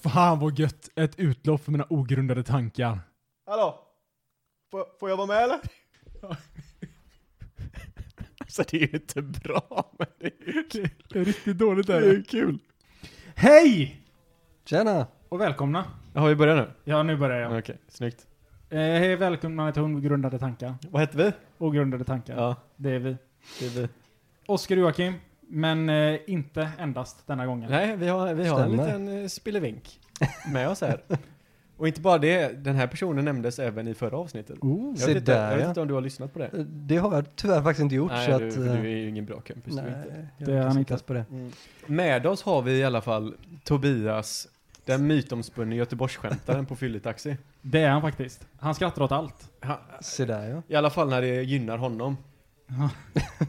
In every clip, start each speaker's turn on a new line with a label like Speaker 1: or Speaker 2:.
Speaker 1: Fan vad gött. Ett utlopp för mina ogrundade tankar.
Speaker 2: Hallå? Får, får jag vara med eller?
Speaker 3: Alltså det är ju inte bra, men det är ju kul.
Speaker 1: Det är riktigt dåligt
Speaker 3: Det är ju kul.
Speaker 1: Hej!
Speaker 3: Tjena!
Speaker 1: Och välkomna.
Speaker 3: Har vi börjat nu?
Speaker 1: Ja, nu börjar jag.
Speaker 3: Okej, snyggt.
Speaker 1: Eh, hej välkomna till Ogrundade tankar.
Speaker 3: Vad hette vi?
Speaker 1: Ogrundade tankar.
Speaker 3: Ja,
Speaker 1: Det är vi.
Speaker 3: det är vi.
Speaker 1: Oskar och Joakim, men eh, inte endast denna gången.
Speaker 3: Nej, vi har, vi har en
Speaker 4: Stämmer.
Speaker 3: liten eh, spillevink med oss här. Och inte bara det, den här personen nämndes även i förra avsnittet.
Speaker 1: Oh.
Speaker 3: Jag
Speaker 4: Se
Speaker 3: vet, inte,
Speaker 4: där,
Speaker 3: jag vet
Speaker 4: ja.
Speaker 3: inte om du har lyssnat på det?
Speaker 4: Det har jag tyvärr faktiskt inte gjort.
Speaker 3: nej,
Speaker 4: så
Speaker 3: du,
Speaker 4: att,
Speaker 3: för
Speaker 4: eh,
Speaker 3: du är ju ingen bra kompis. du vet.
Speaker 4: nej, jag
Speaker 1: Det är
Speaker 4: har
Speaker 1: han
Speaker 4: inte på det.
Speaker 3: Med oss har vi i alla fall Tobias, den mytomspunne Göteborgsskämtaren på fylletaxi.
Speaker 1: Det är han faktiskt. Han skrattar åt allt.
Speaker 3: Han-
Speaker 4: Se där ja.
Speaker 3: I alla fall när det gynnar honom.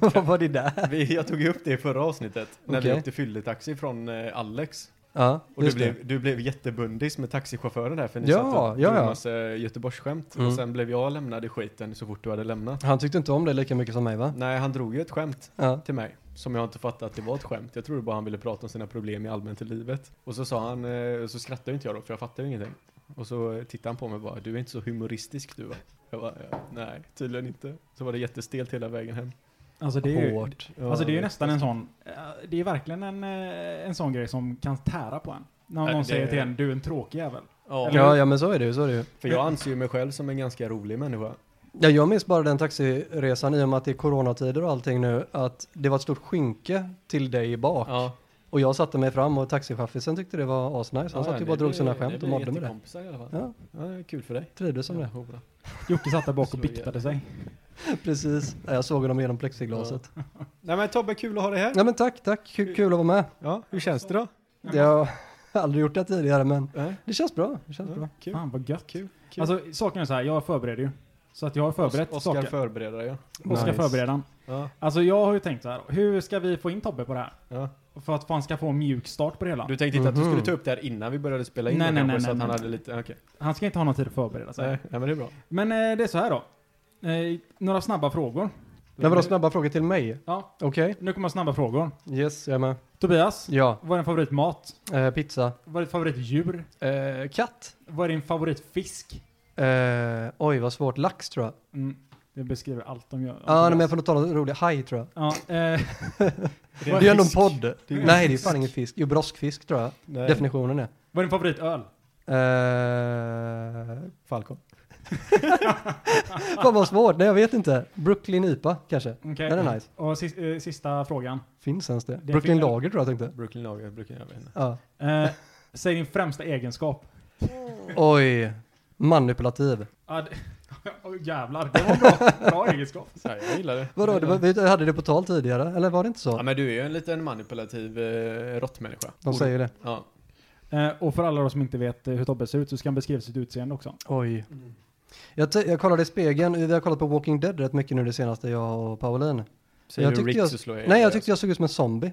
Speaker 4: Vad var det där?
Speaker 3: Vi, jag tog ju upp det i förra avsnittet. När vi
Speaker 4: Okej.
Speaker 3: åkte fylletaxi från eh, Alex.
Speaker 4: Ja,
Speaker 3: Och du
Speaker 4: just det.
Speaker 3: blev, du blev jättebundis med taxichauffören där för ni
Speaker 4: Ja,
Speaker 3: satt och
Speaker 4: ja,
Speaker 3: drog
Speaker 4: ja.
Speaker 3: massa Göteborgsskämt.
Speaker 4: Mm.
Speaker 3: Och sen blev jag lämnad i skiten så fort du hade lämnat.
Speaker 4: Han tyckte inte om det lika mycket som mig va?
Speaker 3: Nej, han drog ju ett skämt
Speaker 4: Ja.
Speaker 3: till mig. Som jag inte fattade att det var ett skämt. Jag trodde bara han ville prata om sina problem i allmänt i livet. Och så sa han, eh, så skrattade ju inte jag då för jag fattade ju ingenting. Och så eh, tittade han på mig och bara, du är inte så humoristisk du va? Jag bara, "Ja, nej, tydligen inte. Så var det jättestelt hela vägen hem.
Speaker 1: Alltså det är ju,
Speaker 4: Hårt.
Speaker 1: alltså, det är ju nästan en sån, eh, det är verkligen en, eh, en sån grej som kan tära på en. När
Speaker 3: Nej,
Speaker 1: någon
Speaker 3: det-
Speaker 1: säger till en, du är en tråkig jävel.
Speaker 3: Ja,
Speaker 1: Eller
Speaker 4: Ja, ja men så är det ju, så är det ju.
Speaker 3: För jag anser ju mig själv som en ganska rolig människa.
Speaker 4: Ja, jag minns bara den taxiresan i och med att det är coronatider och allting nu att det var ett stort skynke till dig bak
Speaker 3: Ja,
Speaker 4: och jag satte mig fram och taxichaffisen tyckte det var asnice. Han satt ju bara och drog sina skämt och mådde med det.
Speaker 3: kompisar i alla fall.
Speaker 4: Ja,
Speaker 3: Ja, det är kul för dig.
Speaker 4: trivdes som det.
Speaker 3: Ja, hurra.
Speaker 1: Jocke satt där bak och
Speaker 3: Så
Speaker 1: biktade
Speaker 3: jävla-
Speaker 1: sig.
Speaker 4: Precis. Ja, Jag såg honom genom plexiglaset. Ja.
Speaker 3: Nej men Tobbe, kul att ha dig här.
Speaker 4: ja men tack, tack. Kul kul att vara med.
Speaker 3: Ja, hur känns det då?
Speaker 4: Jag har aldrig gjort det tidigare men
Speaker 3: Nej,
Speaker 4: det känns bra. Det känns bra.
Speaker 3: ja, kul.
Speaker 1: Fan vad gött.
Speaker 3: Kul. kul.
Speaker 1: Alltså saken är så här, jag förbereder ju. Så att jag har förberett
Speaker 3: Oskar
Speaker 1: saker.
Speaker 3: förbereder dig.
Speaker 1: Oskar
Speaker 4: Nice.
Speaker 1: förberedan.
Speaker 3: Ja.
Speaker 1: Alltså jag har ju tänkt så här, hur ska vi få in Tobbe på det här?
Speaker 3: Ja.
Speaker 1: För att han ska få en mjuk start på det hela.
Speaker 3: Du tänkte inte att du
Speaker 4: Mhm.
Speaker 3: skulle ta upp det här innan vi började spela in
Speaker 1: Nej,
Speaker 3: det
Speaker 1: nej,
Speaker 3: kanske,
Speaker 1: nej,
Speaker 3: så att
Speaker 1: nej,
Speaker 3: han
Speaker 1: nej.
Speaker 3: hade lite, okej.
Speaker 1: Han ska inte ha någon tid att förbereda sig.
Speaker 3: Nej, nej, men det är bra.
Speaker 1: Men eh, det är så här då. Eh, några snabba frågor.
Speaker 4: Nej, vadå snabba frågor till mig?
Speaker 1: Ja,
Speaker 4: Okej.
Speaker 1: nu kommer snabba frågor.
Speaker 4: Yes, jag är med.
Speaker 1: Tobias,
Speaker 4: Ja,
Speaker 1: vad är din favoritmat?
Speaker 4: eh, pizza.
Speaker 1: Vad är ditt favoritdjur?
Speaker 4: Eh, katt.
Speaker 1: Vad är din favoritfisk?
Speaker 4: Eh, oj, vad svårt. Lax tror jag.
Speaker 1: Mm, det beskriver allt om jag... om
Speaker 4: Ja, ah, nej,
Speaker 1: Tobias.
Speaker 4: men jag får nog ta något roligt. Haj tror jag.
Speaker 1: Ja, eh,
Speaker 4: Det
Speaker 1: Vad
Speaker 4: är
Speaker 1: är
Speaker 4: ju ändå en
Speaker 1: fisk?
Speaker 4: podd.
Speaker 3: Det är ju
Speaker 4: Nej, det är
Speaker 3: fisk.
Speaker 4: fan ingen fisk. Jo, broskfisk tror jag.
Speaker 3: Nej.
Speaker 4: Definitionen är.
Speaker 1: vad är din favoritöl?
Speaker 4: Eh,
Speaker 3: Falcon.
Speaker 4: fan vad svårt. Nej, jag vet inte. Brooklyn IPA kanske.
Speaker 1: Okej.
Speaker 4: Den är nice.
Speaker 1: Och sis- eh, sista frågan.
Speaker 4: Finns ens det?
Speaker 1: Det
Speaker 4: Brooklyn
Speaker 1: finns-
Speaker 4: Lager tror jag tänkte.
Speaker 3: Brooklyn Lager brukar jag veta.
Speaker 4: Ja.
Speaker 1: Eh, säg din främsta egenskap.
Speaker 4: Oj. Manipulativ.
Speaker 1: Ah, det, Åh, jävlar, det var bra, bra egenskap.
Speaker 3: Nej, jag gillar det.
Speaker 4: Vadå,
Speaker 3: Jag
Speaker 4: det
Speaker 3: gillar
Speaker 4: var, vi hade det på tal tidigare, eller var det inte
Speaker 3: Ja
Speaker 4: så?
Speaker 3: men du är ju en liten manipulativ eh, råttmänniska.
Speaker 4: De säger det.
Speaker 3: Ja.
Speaker 1: Eh, och för alla då som inte vet eh, hur Tobbe ser ut så ska han beskriva sitt utseende också.
Speaker 4: Oj. Mm. Jag, t- jag kollade i spegeln, vi har kollat på Walking Dead rätt mycket nu det senaste, jag och Pauline.
Speaker 3: Säger
Speaker 4: Jag
Speaker 3: du
Speaker 4: tyckte
Speaker 3: Rick
Speaker 4: jag-
Speaker 3: så slår jag
Speaker 4: Nej, jag
Speaker 3: ihjäl
Speaker 4: tyckte jag såg ut som en zombie.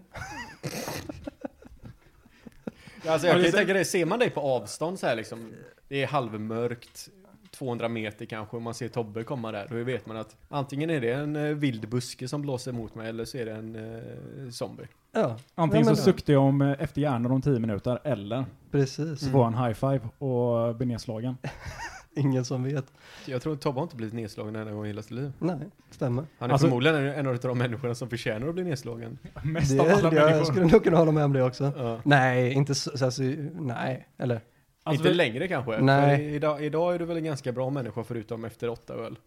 Speaker 3: dig. Alltså jag
Speaker 1: Ja,
Speaker 3: kan ju
Speaker 1: det-
Speaker 3: tänka dig, ser man dig på avstånd så här liksom, det är halvmörkt, 200 meter kanske, och man ser Tobbe komma där, då vet man att antingen är det en eh, vild buske som blåser mot mig, eller så är det en eh, zombie.
Speaker 4: Ja,
Speaker 1: Antingen
Speaker 4: Ja, men-
Speaker 1: så suktar jag om eh, efter hjärnan om 10 minuter eller
Speaker 4: precis.
Speaker 1: så får jag en high five och blir nedslagen.
Speaker 4: Ingen som vet.
Speaker 3: Jag tror att Tobbe har inte blivit nedslagen en enda gång i hela sitt liv.
Speaker 4: Nej, stämmer.
Speaker 3: Han är
Speaker 1: Alltså-
Speaker 3: förmodligen en av de människorna som förtjänar att bli nedslagen.
Speaker 1: Mest av
Speaker 4: Det,
Speaker 1: alla
Speaker 4: det,
Speaker 1: människor.
Speaker 4: jag skulle nog kunna hålla med om det också.
Speaker 3: Ja.
Speaker 4: Nej, inte så, så, så nej, eller?
Speaker 1: Alltså,
Speaker 3: inte
Speaker 1: vi-
Speaker 3: längre kanske.
Speaker 4: Nej.
Speaker 3: För i- Idag, idag är du väl en ganska bra människa förutom efter åtta öl.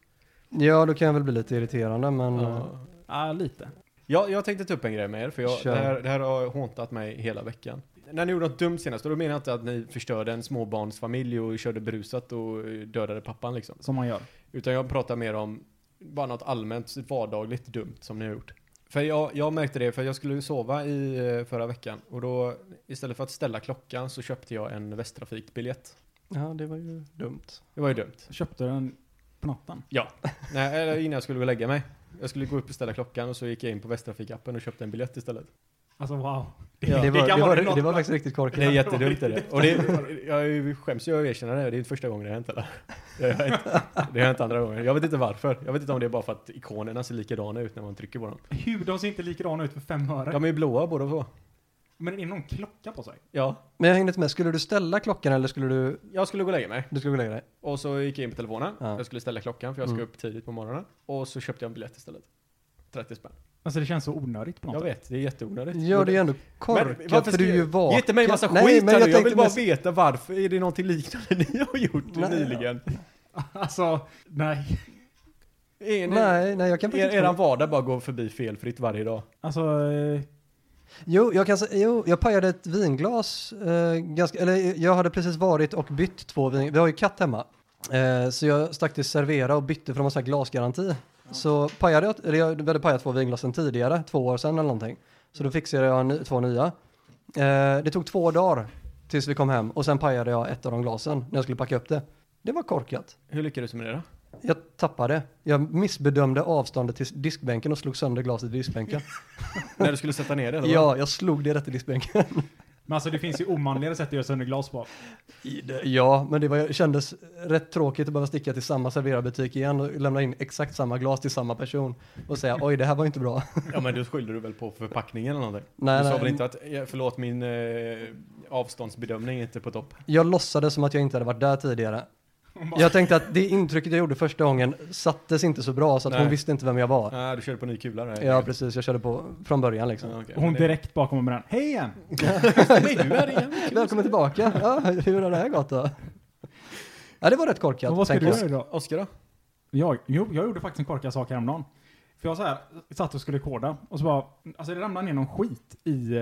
Speaker 4: Ja, då kan jag väl bli lite irriterande, men
Speaker 1: Mm.
Speaker 4: eh,
Speaker 3: Ja.
Speaker 1: Ja, lite.
Speaker 3: Ja, jag tänkte ta upp en grej med er, för jag, det,
Speaker 4: Kör.
Speaker 3: här, det här har håntat mig hela veckan. När ni gjorde något dumt senast, och då menar jag inte att ni förstörde en småbarnsfamilj och körde berusat och eh, dödade pappan liksom.
Speaker 1: Som man gör.
Speaker 3: Utan jag pratar mer om bara något allmänt vardagligt dumt som ni har gjort. För jag, jag märkte det, för jag skulle sova i eh, förra veckan och då istället för att ställa klockan så köpte jag en Västtrafikbiljett.
Speaker 4: ja, det var ju dumt.
Speaker 3: Det var ju dumt.
Speaker 1: Jag köpte den på natten.
Speaker 3: Nej, eller innan jag skulle gå och lägga mig. Jag skulle gå upp och ställa klockan och så gick jag in på Västtrafikappen och köpte en biljett istället.
Speaker 1: Alltså wow.
Speaker 4: det, var, det,
Speaker 1: kan vara
Speaker 4: var,
Speaker 1: något
Speaker 4: det var
Speaker 1: bra.
Speaker 4: faktiskt riktigt korkat.
Speaker 3: Det är jättedumt är det. Och det, jag skäms ju att erkänna det, det är inte första gången det har hänt eller? Det har hänt, det har hänt andra gånger. Jag vet inte varför. Jag vet inte om det är bara för att ikonerna ser likadana ut när man trycker på dem.
Speaker 1: Hur? De ser inte likadana ut för fem öre.
Speaker 3: De är ju blåa båda två.
Speaker 1: Men är det någon klocka på sig?
Speaker 3: Ja,
Speaker 4: Men jag hängde inte med. Skulle du ställa klockan eller skulle du...
Speaker 3: jag skulle gå och lägga mig.
Speaker 4: Du skulle gå och lägga dig?
Speaker 3: Och så gick jag in på telefonen.
Speaker 4: Ja.
Speaker 3: Jag skulle ställa klockan för jag ska
Speaker 4: Mm.
Speaker 3: upp tidigt på morgonen. Och så köpte jag en biljett istället. 30 spänn.
Speaker 1: Alltså det känns så onödigt på något
Speaker 3: Jag
Speaker 1: sätt.
Speaker 3: vet, det är jätteonödigt.
Speaker 4: Gör det ju ändå
Speaker 3: Men
Speaker 4: korkat
Speaker 3: varför
Speaker 4: för du är
Speaker 3: ska-
Speaker 4: ju vaken.
Speaker 3: Ge inte mig massa
Speaker 4: Nej,
Speaker 3: skit
Speaker 4: men
Speaker 3: här
Speaker 4: jag,
Speaker 3: nu. jag vill
Speaker 4: tänkte
Speaker 3: bara
Speaker 4: mest-
Speaker 3: veta varför. Är det någonting liknande ni har gjort
Speaker 4: Nej.
Speaker 3: nyligen?
Speaker 1: Alltså, nej.
Speaker 3: Är ni,
Speaker 4: Nej, nej, jag kan faktiskt
Speaker 3: er,
Speaker 4: inte
Speaker 3: eran vardag bara går förbi felfritt varje dag.
Speaker 1: Alltså, eh,
Speaker 4: Jo, jag kan säga, jo, jag pajade ett vinglas. Eh, ganska, eller jag hade precis varit och bytt två vin. Vi har ju katt hemma. Eh, så jag stack till Servera och bytte för de har så här glasgaranti. Så pajade jag, eller jag vi hade pajat två vinglas sedan tidigare, två år sedan eller någonting. Så då fixade jag ny, två nya. Eh, det tog två dagar tills vi kom hem och sen pajade jag ett av de glasen när jag skulle packa upp det. Det var korkat.
Speaker 3: Hur lyckades du med det då?
Speaker 4: Jag tappade. Jag missbedömde avståndet till diskbänken och slog sönder glaset i diskbänken.
Speaker 3: När du skulle sätta ner det? eller vad?
Speaker 4: ja, jag slog det rätt i diskbänken.
Speaker 1: men alltså det finns ju omanligare sätt att göra sönder glas på.
Speaker 4: I det- Ja, men det var, kändes rätt tråkigt att behöva sticka till samma serverabutik igen och lämna in exakt samma glas till samma person och säga oj, det här var inte bra.
Speaker 3: ja men du skyllde du väl på förpackningen eller någonting?
Speaker 4: Nej,
Speaker 3: du sa
Speaker 4: nej.
Speaker 3: väl inte att, eh, förlåt min eh, avståndsbedömning är inte på topp?
Speaker 4: Jag låtsades som att jag inte hade varit där tidigare. Jag tänkte att det intrycket jag gjorde första gången sattes inte så bra så att hon
Speaker 3: Nej.
Speaker 4: visste inte vem jag var.
Speaker 3: Nej, du körde på ny kula där.
Speaker 4: Ja, precis. Jag körde på från början liksom.
Speaker 3: Ja, okej.
Speaker 1: Hon
Speaker 3: Men det-
Speaker 1: direkt bakom med den. Hej igen!
Speaker 3: Nej, du är igen.
Speaker 4: Välkommen tillbaka. Ja, hur har det här gått då? Ja, det var rätt korkat.
Speaker 1: Men vad ska
Speaker 4: tänker
Speaker 1: du
Speaker 4: jag.
Speaker 1: göra idag?
Speaker 3: Oskar då?
Speaker 1: Jag, jo, jag gjorde faktiskt en korkad sak häromdagen. För jag så här, satt och skulle koda och så bara, alltså det ramlade ner någon skit i eh,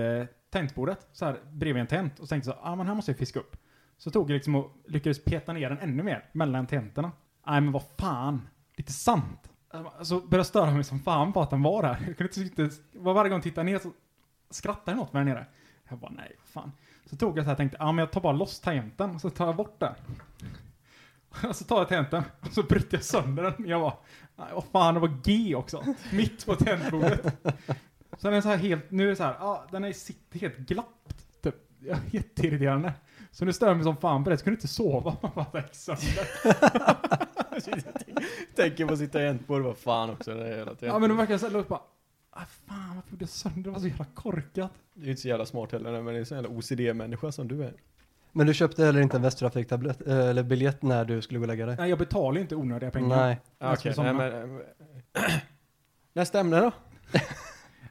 Speaker 1: tangentbordet, så här bredvid en tent. Och så tänkte jag så här, ah, men här måste jag fiska upp. Så tog jag liksom och lyckades peta ner den ännu mer mellan tentorna. Nej men vad fan, det är inte sant. Så började jag störa mig som fan på att den var där. Jag kunde inte, inte var varje gång jag tittade ner så skrattade något med den nere. Jag bara nej, fan. Så tog jag så här och tänkte, ja ah, men jag tar bara loss tangenten och så tar jag bort den. Och så tar jag tangenten och så bryter jag sönder den. Jag bara, nej, vad fan, det var G också. Mitt på tangentbordet. Så den är så här helt, nu är det så här, ah, den är sitter helt glappt. Typ. Ja, Jätteirriterande. Så nu stör jag mig som fan på det, så kunde jag inte sova. Man bara, det gick sönder.
Speaker 3: Tänker på sitt tangentbord, vad fan också. Det är, hela
Speaker 1: Ja men det
Speaker 3: tangentbordet.
Speaker 1: verkar så här, låg bara, ah, fan varför gjorde jag sönder? Det var så jävla korkat.
Speaker 3: det är ju inte så jävla smart heller, men det är en sån jävla OCD-människa som du är.
Speaker 4: Men du köpte heller inte en Västtrafik-tablett, eh, eller biljett när du skulle gå och lägga dig?
Speaker 1: Nej jag betalar ju inte onödiga pengar.
Speaker 4: Nej.
Speaker 1: Jag
Speaker 3: Okej,
Speaker 1: skulle somna.
Speaker 3: nej, men, Nästa ämne då?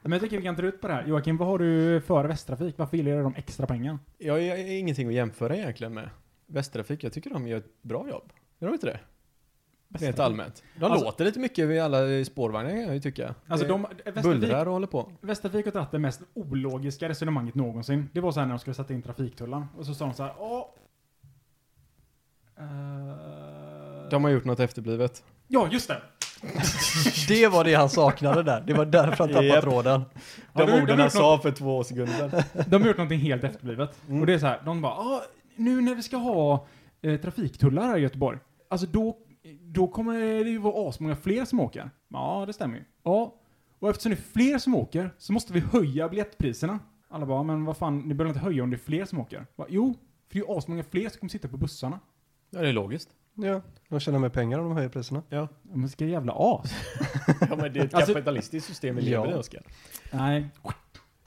Speaker 1: Men jag tycker vi kan dra ut på det här. Joakim, vad har du för Västtrafik? Varför gillar du de extra pengarna?
Speaker 3: Jag har ju ingenting att jämföra egentligen med. Västtrafik, jag tycker de gör ett bra jobb. Gör de inte det? Rent
Speaker 1: Västtrafik.
Speaker 3: allmänt. De
Speaker 1: Alltså-
Speaker 3: låter lite mycket vid alla spårvagnar kan jag ju tycka.
Speaker 1: Alltså
Speaker 3: Det
Speaker 1: de, Västervik,
Speaker 3: bullrar och håller på.
Speaker 1: Västervik har dragit det mest ologiska resonemanget någonsin. Det var så här när de skulle sätta in trafiktullar. Och så sa de så här, åh... Eh,
Speaker 3: De har gjort något efterblivet.
Speaker 1: Ja, just det!
Speaker 4: Det var det han saknade där. Det var därför han tappade
Speaker 3: Japp.
Speaker 4: tråden.
Speaker 1: Ja, de- de har gjort
Speaker 3: för två år sedan.
Speaker 1: De har gjort någonting helt efterblivet.
Speaker 3: Mm.
Speaker 1: Och det är så här, de bara, ah, nu när vi ska ha eh, trafiktullar här i Göteborg, alltså då, då kommer det ju vara asmånga fler som åker. Ja, det stämmer ju. Ja, och eftersom det är fler som åker så måste vi höja biljettpriserna. Alla bara, men vad fan, ni behöver inte höja om det är fler som åker. Bara, jo, för det är ju asmånga fler som kommer sitta på bussarna.
Speaker 3: Ja, det är logiskt.
Speaker 4: Ja, de tjänar mer pengar om de höjer priserna.
Speaker 3: Ja.
Speaker 1: Ja, Men ska jävla as.
Speaker 3: ja, men det är ett
Speaker 1: Alltså-
Speaker 3: kapitalistiskt system vi
Speaker 4: Ja.
Speaker 3: lever i, Oskar.
Speaker 1: Nej.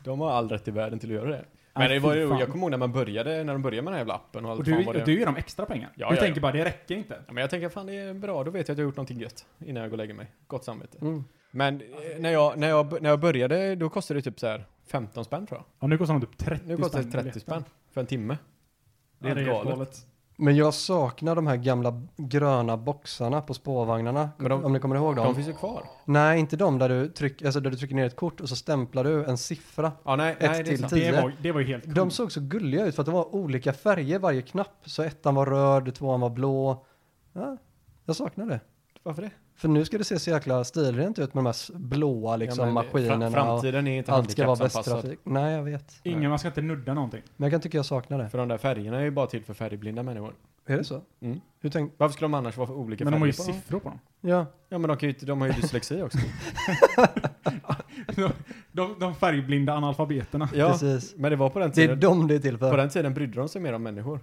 Speaker 3: De har all rätt i världen till att göra det.
Speaker 1: Nej,
Speaker 3: Men det var ju,
Speaker 1: fy fan.
Speaker 3: jag kommer ihåg när man började, när de började med den här jävla appen och allt
Speaker 1: Och
Speaker 3: fan
Speaker 1: du,
Speaker 3: vad det
Speaker 1: och du ger dem extra pengar.
Speaker 3: Ja,
Speaker 1: du
Speaker 3: ja,
Speaker 1: tänker
Speaker 3: ja.
Speaker 1: bara, det räcker inte.
Speaker 3: Ja, men jag tänker fan det är bra, då vet jag att jag har gjort någonting gött innan jag går och lägger mig. Gott samvete.
Speaker 4: Mm.
Speaker 3: Men eh, när jag, när, jag, när jag började, då kostade det typ så här 15 spänn tror jag.
Speaker 1: Ja, nu kostar de typ 30
Speaker 3: Nu kostar det
Speaker 1: spänn
Speaker 3: 30
Speaker 1: biljetten.
Speaker 3: spänn för en timme. Det är
Speaker 1: Ja,
Speaker 3: helt galet.
Speaker 4: Men jag saknar de här gamla gröna boxarna på spårvagnarna.
Speaker 3: Men de-
Speaker 4: om ni kommer ihåg dem?
Speaker 3: De finns ju kvar.
Speaker 4: Nej, inte de där du, tryck, alltså där du trycker ner ett kort och så stämplar du en siffra.
Speaker 3: Ja, nej, nej det är
Speaker 4: till
Speaker 3: sant.
Speaker 4: tio.
Speaker 1: Det var, det var ju helt
Speaker 4: De såg så gulliga ut för att de var olika färger varje knapp. Så ettan var röd, tvåan var blå. Ja, jag saknar det.
Speaker 3: Varför det?
Speaker 4: För nu ska det se så jäkla stilrent ut med de här s- blåa liksom,
Speaker 3: Ja, men det-
Speaker 4: maskinerna.
Speaker 3: fram-
Speaker 4: och
Speaker 3: Framtiden är inte
Speaker 4: allt ska vara
Speaker 3: handikappsanpassad.
Speaker 4: västtrafik. Nej, jag vet.
Speaker 1: Ingen, man ska inte nudda någonting.
Speaker 4: Men jag kan tycka jag saknar det.
Speaker 3: För de där färgerna är ju bara till för färgblinda människor.
Speaker 4: Är det så?
Speaker 3: Mm.
Speaker 4: Hur tänk?
Speaker 3: Varför skulle de annars vara för olika
Speaker 1: Men de
Speaker 3: färger
Speaker 1: har ju
Speaker 3: på dem?
Speaker 1: siffror på dem.
Speaker 4: Ja.
Speaker 3: Ja, men de, kan ju, inte- de har ju dyslexi också.
Speaker 1: De, de, de färgblinda analfabeterna.
Speaker 3: Ja,
Speaker 4: Precis.
Speaker 3: men det var på den
Speaker 4: Det är
Speaker 3: tiden.
Speaker 4: dem det är till
Speaker 3: På
Speaker 4: för.
Speaker 3: den tiden brydde de sig mer om människor.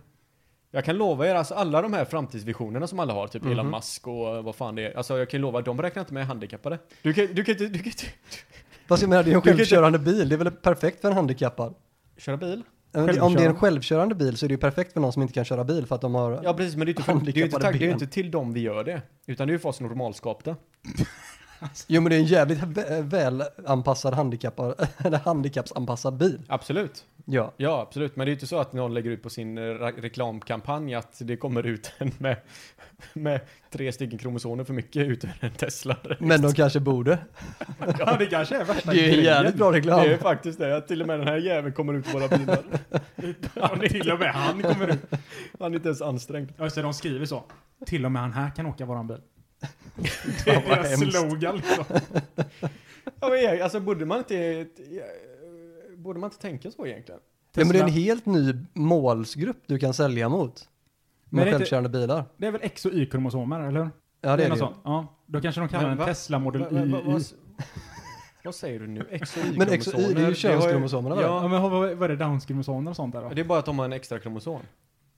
Speaker 3: Jag kan lova er, alltså alla de här framtidsvisionerna som alla har, typ Elon
Speaker 4: Mhm.
Speaker 3: Musk och vad fan det är. Alltså jag kan ju lova, de räknar inte med handikappade. Du kan, du kan inte, du kan inte
Speaker 4: Fast jag menar, det är en
Speaker 3: Du kan inte-
Speaker 4: självkörande bil. Det är väl perfekt för en handikappad?
Speaker 3: köra bil?
Speaker 4: Om det- Om det är en självkörande bil så är det ju perfekt för någon som inte kan köra bil för att de har...
Speaker 3: Ja precis, men det är ju inte, för, det är ju inte,
Speaker 4: Handikappade
Speaker 3: tack, det är ju
Speaker 4: ben.
Speaker 3: inte till dem vi gör det. Utan det är ju för oss normalskapta.
Speaker 4: Jo men det är en jävligt vä- välanpassad handikappad, eller handikappsanpassad bil.
Speaker 3: Absolut.
Speaker 4: Ja.
Speaker 3: Ja, absolut. Men det är ju inte så att någon lägger ut på sin eh, ra- reklamkampanj att det kommer ut en med, med tre stycken kromosomer för mycket ut ur en Tesla.
Speaker 4: Men de kanske borde.
Speaker 1: Ja, det kanske är värsta
Speaker 4: Det är ju jävligt bra
Speaker 3: Det är
Speaker 4: reklam.
Speaker 3: ju faktiskt det, att till och med den här jäveln kommer ut på våra bilar.
Speaker 1: Ja, till och med han kommer ut.
Speaker 3: Han är inte ens ansträngd.
Speaker 1: Ja, så de skriver så. Till och med han här kan åka våran bil. Det är
Speaker 3: vad
Speaker 1: deras
Speaker 3: hemskt.
Speaker 1: slogan liksom.
Speaker 3: Ja, men, eh, alltså borde man inte... eh, Borde man inte tänka så egentligen?
Speaker 4: Ja, men det är en
Speaker 1: Tesla.
Speaker 4: helt ny målsgrupp du kan sälja mot.
Speaker 1: Men
Speaker 4: Med
Speaker 1: det är inte-
Speaker 4: självkörande bilar.
Speaker 1: Det är väl X och Y-kromosomer, eller hur?
Speaker 4: Ja det är det
Speaker 1: något
Speaker 4: ju.
Speaker 1: sånt. Ja, då kanske de kallar
Speaker 3: Men
Speaker 1: den
Speaker 3: va?
Speaker 1: Tesla Model
Speaker 3: Va- va- va-
Speaker 1: Y.
Speaker 3: vad s- Vad säger du nu? X och
Speaker 4: Men X och Y, det är ju
Speaker 3: har
Speaker 4: könskromosomerna, va?
Speaker 1: Ja,
Speaker 3: Ja,
Speaker 1: men har- vad vad är det? Downs-kromosomer och sånt där då?
Speaker 3: det är bara att de har en extra kromosom.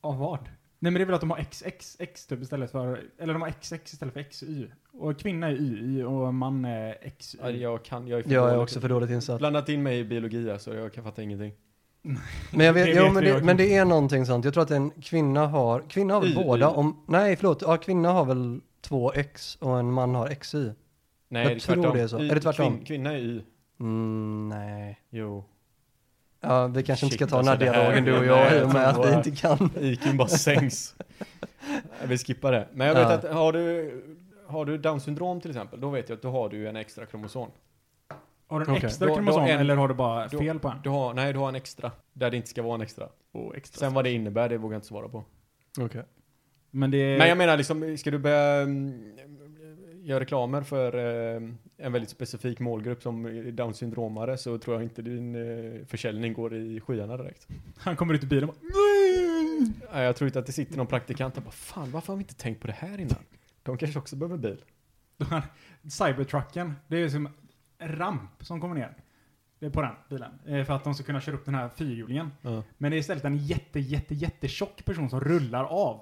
Speaker 1: Av vad? Nej men det är väl att de har XXX typ istället för, eller de har XX istället för XY. Och kvinna är YY och man är XY.
Speaker 3: Ja, jag kan, jag är för
Speaker 4: Jag är
Speaker 3: dålig.
Speaker 4: också för dåligt insatt.
Speaker 3: Blandat in mig i biologi alltså, jag kan fatta ingenting.
Speaker 4: Men, jag
Speaker 1: Det
Speaker 4: vet,
Speaker 1: vet
Speaker 4: jo, men,
Speaker 1: vi
Speaker 4: det,
Speaker 1: också.
Speaker 4: men det är någonting sånt. Jag tror att en kvinna har, kvinna har väl
Speaker 3: Y,
Speaker 4: båda
Speaker 3: Y.
Speaker 4: om, nej förlåt, ja, kvinna har väl två X och en man har XY.
Speaker 3: Nej,
Speaker 4: Jag
Speaker 3: det är
Speaker 4: tror
Speaker 3: tvärtom.
Speaker 4: det är så.
Speaker 3: Y-
Speaker 4: Är det tvärtom?
Speaker 3: kvin- kvinna är Y.
Speaker 4: Mm, nej.
Speaker 3: Jo.
Speaker 4: Ja, vi kanske inte ska
Speaker 3: Shit,
Speaker 4: ta den här
Speaker 3: alltså, det här-
Speaker 4: dialogen du och jag
Speaker 3: Nej,
Speaker 4: i och med
Speaker 3: jag
Speaker 4: att
Speaker 3: tror
Speaker 4: vi
Speaker 3: bara-
Speaker 4: inte kan.
Speaker 3: IQn bara sänks. Nej, Vi skippar det. Men jag vet
Speaker 4: Ja.
Speaker 3: att, har du, har du down syndrom till exempel, då vet jag att då har du ju en extra kromosom.
Speaker 1: har du en
Speaker 4: Okej.
Speaker 1: extra
Speaker 3: Då- då
Speaker 1: kromosom
Speaker 3: en-
Speaker 1: eller har du bara
Speaker 3: då-
Speaker 1: fel på en?
Speaker 3: Du har, nej, du har en extra. Där det inte ska vara en extra.
Speaker 1: Och extra.
Speaker 3: Sen vad det innebär, det vågar jag inte svara på.
Speaker 1: men det är...
Speaker 3: Men jag menar liksom, ska du börja mm, göra reklamer för eh, en väldigt specifik målgrupp som är down syndromare så tror jag inte din eh, försäljning går i skyarna direkt.
Speaker 1: Han kommer ut i bilen och bara,
Speaker 3: Nej, Jag tror inte att det sitter någon praktikant och bara fan varför har vi inte tänkt på det här innan? De kanske också behöver bil.
Speaker 1: Cybertrucken, det är ju som en ramp som kommer ner. Det är på den bilen. Eh, För att de ska kunna köra upp den här fyrhjulingen. Men det är istället en jätte, jätte, jätte tjock person som rullar av.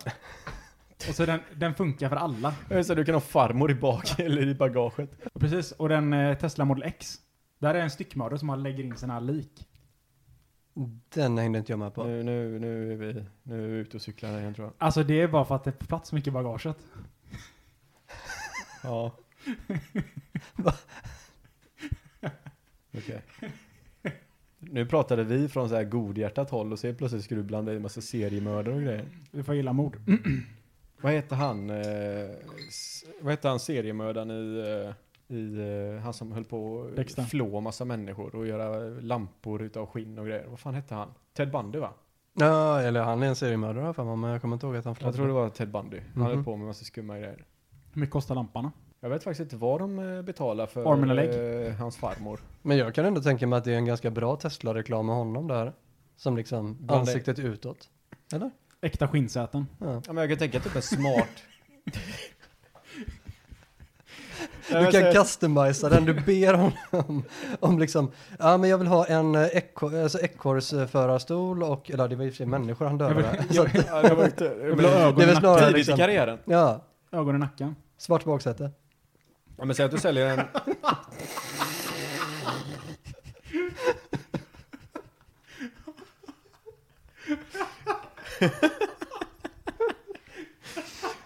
Speaker 1: Och så den, den funkar för alla.
Speaker 3: Eh, Så du kan ha farmor i bak eller i bagaget.
Speaker 1: Och Precis, och den eh, Tesla Model X. Där är en styckmördare som han lägger in sina lik.
Speaker 4: Den hängde inte jag med på.
Speaker 3: Nu, nu, nu är vi nu är vi ute och cyklar igen tror jag.
Speaker 1: Alltså det är bara för att det är plats så mycket i bagaget.
Speaker 3: Ja.
Speaker 4: Va?
Speaker 3: Okej. Nu pratade vi från så här godhjärtat håll och så helt plötsligt ska du blanda i en massa seriemördare och grejer.
Speaker 1: Vi får gilla mord.
Speaker 3: Vad heter han? Eh, s- vad heter han seriemördaren i, eh, i eh, han som höll på att
Speaker 1: Dexter.
Speaker 3: flå massa människor och göra lampor utav skinn och grejer. Vad fan hette han? Ted Bundy va?
Speaker 4: Ja, eller han är en seriemördare har jag för mig, men jag kommer inte ihåg att han
Speaker 3: Jag tror det var Ted Bundy. Han höll
Speaker 4: Mhm.
Speaker 3: på med massa skumma grejer.
Speaker 1: Hur mycket kostar lamporna?
Speaker 3: Jag vet faktiskt inte vad de eh, betalar för
Speaker 1: Armen och leg.
Speaker 3: eh, hans farmor.
Speaker 4: Men jag kan ändå tänka mig att det är en ganska bra Tesla-reklam med honom där. Som liksom
Speaker 3: Bland dig.
Speaker 4: ansiktet utåt. Eller?
Speaker 1: Äkta skinnsäten.
Speaker 4: Ja.
Speaker 3: Ja men jag kan tänka typ en smart...
Speaker 4: Du kan customisa den, du ber honom om liksom, ja men jag vill ha en eh, ekor- alltså, ekorrsförarstol och, eller det var i och för sig människor han
Speaker 1: Jag vill-
Speaker 4: dödade.
Speaker 1: jag vill-
Speaker 3: Jag vill inte...
Speaker 1: jag vill ha ögon
Speaker 4: Det är
Speaker 1: i
Speaker 4: väl
Speaker 1: nacken.
Speaker 4: snarare
Speaker 3: Tidigt i
Speaker 4: liksom,
Speaker 3: karriären.
Speaker 4: ja,
Speaker 1: Ögon i nacken.
Speaker 4: svart baksäte.
Speaker 3: Ja, men säg att du säljer en...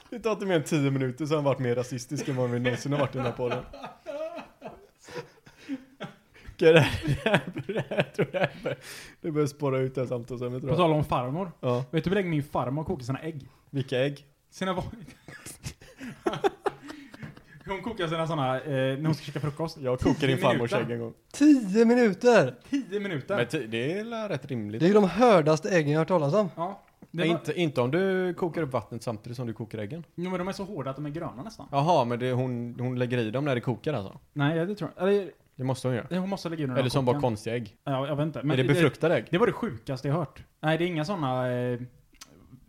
Speaker 3: Det tar inte mer än 10 minuter så har han varit mer rasistisk än vad vi någonsin har varit i den här podden. Okej, det här, det här, det här, jag tror det här bör- det börjar spåra ut det här samtalsämnet
Speaker 1: På
Speaker 3: tror jag.
Speaker 1: tal om farmor.
Speaker 3: Ja,
Speaker 1: Vet du hur länge min farmor kokar sina ägg?
Speaker 3: vilka ägg?
Speaker 1: Sina va- Hon kokar sina sådana, eh, när hon ska käka frukost.
Speaker 3: Jag kokade din
Speaker 1: Tio
Speaker 3: farmors
Speaker 1: minuter.
Speaker 3: ägg en gång.
Speaker 4: Tio minuter!
Speaker 1: Tio minuter.
Speaker 3: Men ti- det är väl rätt rimligt.
Speaker 4: Det är ju de hördaste äggen jag har hört talas om.
Speaker 1: ja. Det
Speaker 3: Nej,
Speaker 1: var,
Speaker 3: inte, inte om du kokar upp vattnet samtidigt som du kokar äggen.
Speaker 1: Jo, men de är så hårda att de är gröna nästan.
Speaker 3: Jaha, men det, hon, hon lägger i dem när det kokar alltså?
Speaker 1: Nej, det tror jag. Eller,
Speaker 3: Det måste hon göra.
Speaker 1: hon måste lägga in den
Speaker 3: Eller som bara
Speaker 1: kocken.
Speaker 3: konstiga ägg.
Speaker 1: Ja, jag vet inte. Men
Speaker 3: är det befruktade ägg?
Speaker 1: Det var det sjukaste jag hört. Nej, det är inga sådana eh,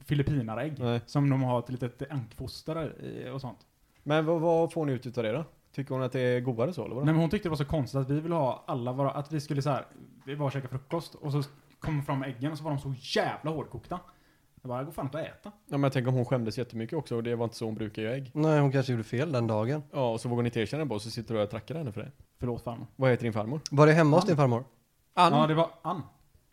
Speaker 1: filippinarägg
Speaker 3: Nej.
Speaker 1: som de har ett litet ankfoster i och sånt.
Speaker 3: Men vad, vad får ni ut utav det då? Tycker hon att det är godare så eller vadå?
Speaker 1: Nej, men hon tyckte det var så konstigt att vi ville ha alla våra, att vi skulle så här, vi var och käka frukost och så kom fram äggen och så var de så jävla hårdkokta. Jag bara, det går fan inte att äta.
Speaker 3: Ja, men jag tänker om hon skämdes jättemycket också och det var inte så hon brukar göra ägg.
Speaker 4: Nej, hon kanske gjorde fel den dagen.
Speaker 3: Ja, och så vågar ni inte erkänna det bara och så sitter du och trackar henne för det.
Speaker 1: Förlåt farmor. Ah.
Speaker 3: Vad heter din farmor?
Speaker 4: Var det hemma hos din farmor?
Speaker 1: Ja, det var Ann.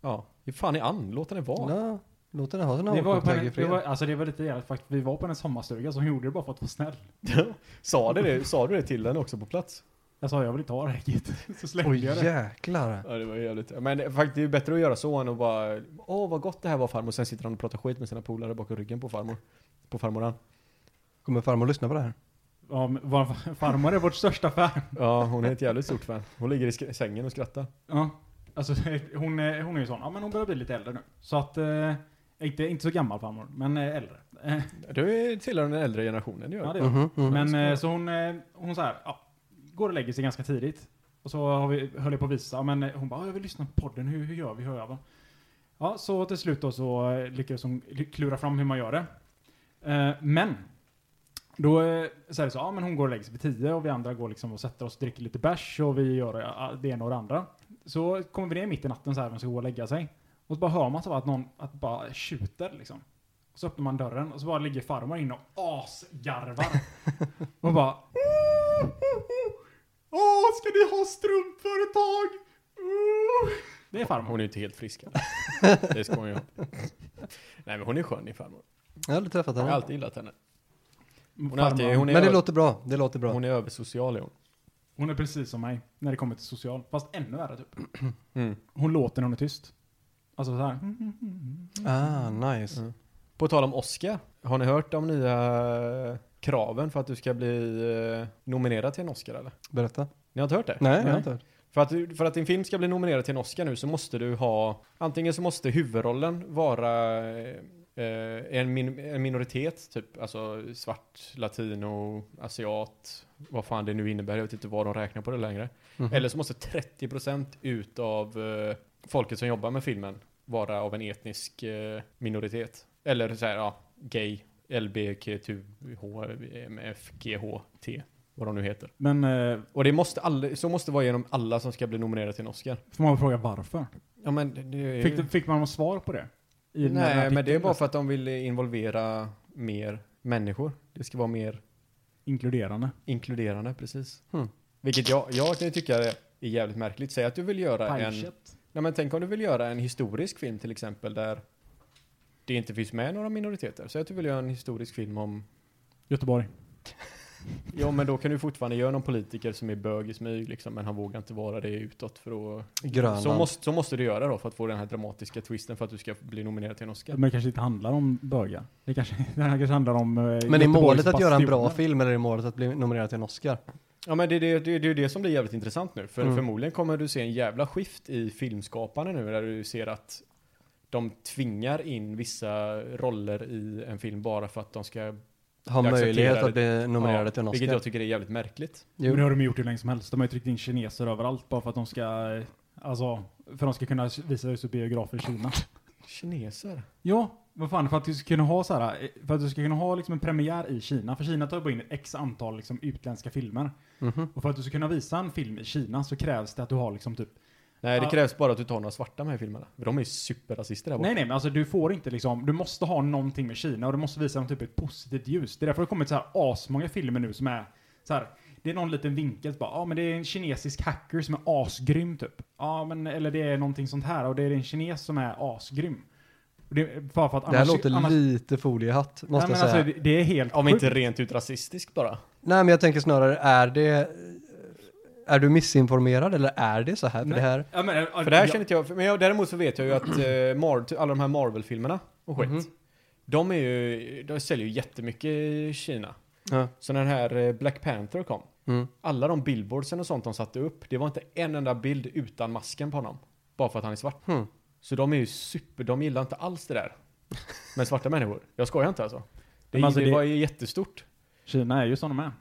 Speaker 3: Ja, ge fan i an, låt henne vara.
Speaker 4: Ja, låt den ha sina
Speaker 1: Ah. Det var,
Speaker 4: avkopplingar
Speaker 1: på en,
Speaker 4: i
Speaker 1: det
Speaker 4: fred.
Speaker 1: var, alltså det var lite jävligt faktiskt. Vi var på en sommarstuga som gjorde det bara för att vara snäll.
Speaker 3: sa, det det, sa du det till henne också på plats?
Speaker 1: Jag sa jag vill inte ha räcket. Så slängde
Speaker 4: Oj
Speaker 1: jag det.
Speaker 4: jäklar.
Speaker 3: Ja, det var jävligt. Men det- faktiskt, det är bättre att göra så än att bara, åh vad gott det här var farmor, sen sitter han och pratar skit med sina polare bakom ryggen på farmor. På farmoran.
Speaker 4: Kommer farmor lyssna på det här?
Speaker 1: Ja, men var, farmor är vårt största fan.
Speaker 3: Ja, hon är ett jävligt stort fan. Hon ligger i sk- sängen och skrattar.
Speaker 1: Ja. Alltså hon är, hon är ju sån. Ja men hon börjar bli lite äldre nu. Så att, eh, inte, inte så gammal farmor, men eh, äldre. Eh,
Speaker 3: Du är- tillhör den äldre generationen, det gör
Speaker 1: ja,
Speaker 3: du.
Speaker 1: det är hon.
Speaker 4: Mhm, mhm.
Speaker 1: Men eh, så hon, eh, hon så här, ja, går och lägger sig ganska tidigt. Och så har vi, höll jag på att visa, men eh, hon bara, "Ja, jag vill lyssna på podden, hur, hur gör vi, hur gör jag? Ja, så till slut då så eh, lyckades hon ly- klura fram hur man gör det. Eh, men, då eh, så är det så, ja men hon går och lägger sig vid tio och vi andra går liksom och sätter oss och dricker lite bärs och vi gör eh, det ena och det andra. Så kommer vi ner mitt i natten så här, vem ska gå och lägga sig? Och så bara hör man så här att någon, att bara tjuter liksom. Och så öppnar man dörren och så bara ligger farmor inne och asgarvar. Och bara... "Oh, oh, oh. Åh, ska ni ha strumpföretag? Oh." Det är farmor.
Speaker 3: Hon är ju inte helt frisk. det ska hon ju ha. Nej men hon är skön din farmor.
Speaker 4: Jag har aldrig träffat
Speaker 3: Jag har
Speaker 4: henne. Mm.
Speaker 3: alltid gillat henne. Hon
Speaker 1: Farmor,
Speaker 3: är, alltid, hon är,
Speaker 4: Men det
Speaker 3: ö-
Speaker 4: låter bra. Det låter bra.
Speaker 3: hon är översocial är hon.
Speaker 1: hon är precis som mig när det kommer till social. Fast ännu värre typ.
Speaker 3: Mm.
Speaker 1: Hon låter när hon är tyst. Alltså så här.
Speaker 4: Ah, nice.
Speaker 3: Mm. På tal om Oscar, har ni hört de nya eh, kraven för att du ska bli eh, nominerad till en Oscar eller?
Speaker 4: Berätta.
Speaker 3: Ni har inte hört det?
Speaker 4: Nej, jag
Speaker 1: Nej.
Speaker 4: har inte hört.
Speaker 3: För att, du- för att din film ska bli nominerad till en Oscar nu så måste du ha, antingen så måste huvudrollen vara eh, eh, en, min, en minoritet, typ alltså svart, latino, asiat, vad fan det nu innebär, jag vet inte vad de räknar på det längre.
Speaker 4: Mhm.
Speaker 3: Eller så måste 30% utav eh, folket som jobbar med filmen vara av en etnisk eh, minoritet. Eller så här, ja, gay, LBQHMFGHT, vad de nu heter.
Speaker 1: Men eh,
Speaker 3: Och det måste all, så måste det vara genom alla som ska bli nominerade till en Oscar.
Speaker 1: får man väl fråga varför?
Speaker 3: Ja men det- det
Speaker 4: Eh.
Speaker 3: är
Speaker 1: Fick, det- fick man något svar på det? I den
Speaker 3: Nej,
Speaker 1: här
Speaker 3: men det är
Speaker 1: artikeln? Alltså,
Speaker 3: bara för att de vill involvera mer människor. Det ska vara mer
Speaker 1: Inkluderande.
Speaker 3: inkluderande, precis.
Speaker 4: Hmm.
Speaker 3: Vilket jag, jag kan ju tycka är jävligt märkligt. Säg att du vill göra en...
Speaker 1: Pajkött.
Speaker 3: Nej men tänk om du vill göra en historisk film till exempel där det inte finns med några minoriteter. Säg att du vill göra en historisk film om...
Speaker 1: Göteborg.
Speaker 3: Ja men då kan du fortfarande göra någon politiker som är bög i smyg liksom, men han vågar inte vara det utåt för att
Speaker 4: Grönland.
Speaker 3: Så måste, så måste du göra då för att få den här dramatiska twisten för att du ska bli nominerad till en Oscar.
Speaker 1: Men det kanske inte handlar om bögar. Det kanske, det här kanske handlar om... eh,
Speaker 4: Men är
Speaker 1: Göteborgs
Speaker 4: målet att göra en bra
Speaker 1: bastioner.
Speaker 4: film eller är målet att bli nominerad till en Oscar?
Speaker 3: Ja men det är det, det, är- det, är det som blir jävligt intressant nu. För
Speaker 4: Mm.
Speaker 3: förmodligen kommer du se en jävla skift i filmskaparna nu där du ser att de tvingar in vissa roller i en film bara för att de ska...
Speaker 4: Ha
Speaker 3: Jag
Speaker 4: möjlighet
Speaker 3: accepterar
Speaker 4: att bli nominerad till en Oscar?
Speaker 3: Vilket jag tycker är jävligt märkligt.
Speaker 1: Men
Speaker 4: Jo.
Speaker 1: det har de ju gjort hur länge som helst. De har ju tryckt in kineser överallt bara för att de ska, eh, alltså, för att de ska kunna visa hus och biografer i Kina.
Speaker 3: Kineser?
Speaker 1: Ja, vad fan, för att du ska kunna ha så här, eh, för att du ska kunna ha liksom en premiär i Kina, för Kina tar ju bara in x antal liksom utländska filmer.
Speaker 4: Mhm.
Speaker 1: Och för att du ska kunna visa en film i Kina så krävs det att du har liksom typ,
Speaker 3: Nej det
Speaker 1: Ja.
Speaker 3: krävs bara att du tar några svarta med i filmerna. För de är ju superrasister där borta.
Speaker 1: nej nej men alltså du får inte liksom, du måste ha någonting med Kina och du måste visa någon typ ett positivt ljus. Det är därför det har kommit så här asmånga filmer nu som är så här, det är någon liten vinkel, så bara, ja ah, men det är en kinesisk hacker som är asgrym typ. Ja ah, men, eller det är någonting sånt här och det är en kines som är asgrym. Och Det, är bara för att
Speaker 4: Det här låter lite foliehatt, måste
Speaker 1: nej,
Speaker 4: jag
Speaker 1: men
Speaker 4: säga.
Speaker 1: alltså, det, det är helt
Speaker 3: Om
Speaker 1: sjukt.
Speaker 3: inte rent ut rasistiskt bara.
Speaker 4: Nej, men jag tänker snarare, är det... Är du missinformerad eller är det så här? För
Speaker 1: Nej.
Speaker 4: det här...
Speaker 1: Ja, men, ja,
Speaker 3: För det här
Speaker 1: ja,
Speaker 3: känner inte jag, men jag, däremot så vet jag ju att eh, Mar, alla de här Marvel-filmerna och skit,
Speaker 4: Mhm.
Speaker 3: de är ju, de säljer ju jättemycket i Kina.
Speaker 4: Ja.
Speaker 3: Så när den här eh, Black Panther kom,
Speaker 4: Mm.
Speaker 3: alla de billboardsen och sånt de satte upp, det var inte en enda bild utan masken på honom. Bara för att han är svart.
Speaker 4: Hmm.
Speaker 3: Så de är ju super, de gillar inte alls det där. Med svarta människor. Jag skojar inte alltså. Det,
Speaker 1: Men alltså,
Speaker 3: det,
Speaker 1: det-
Speaker 3: var ju jättestort.
Speaker 1: Kina är ju som de är.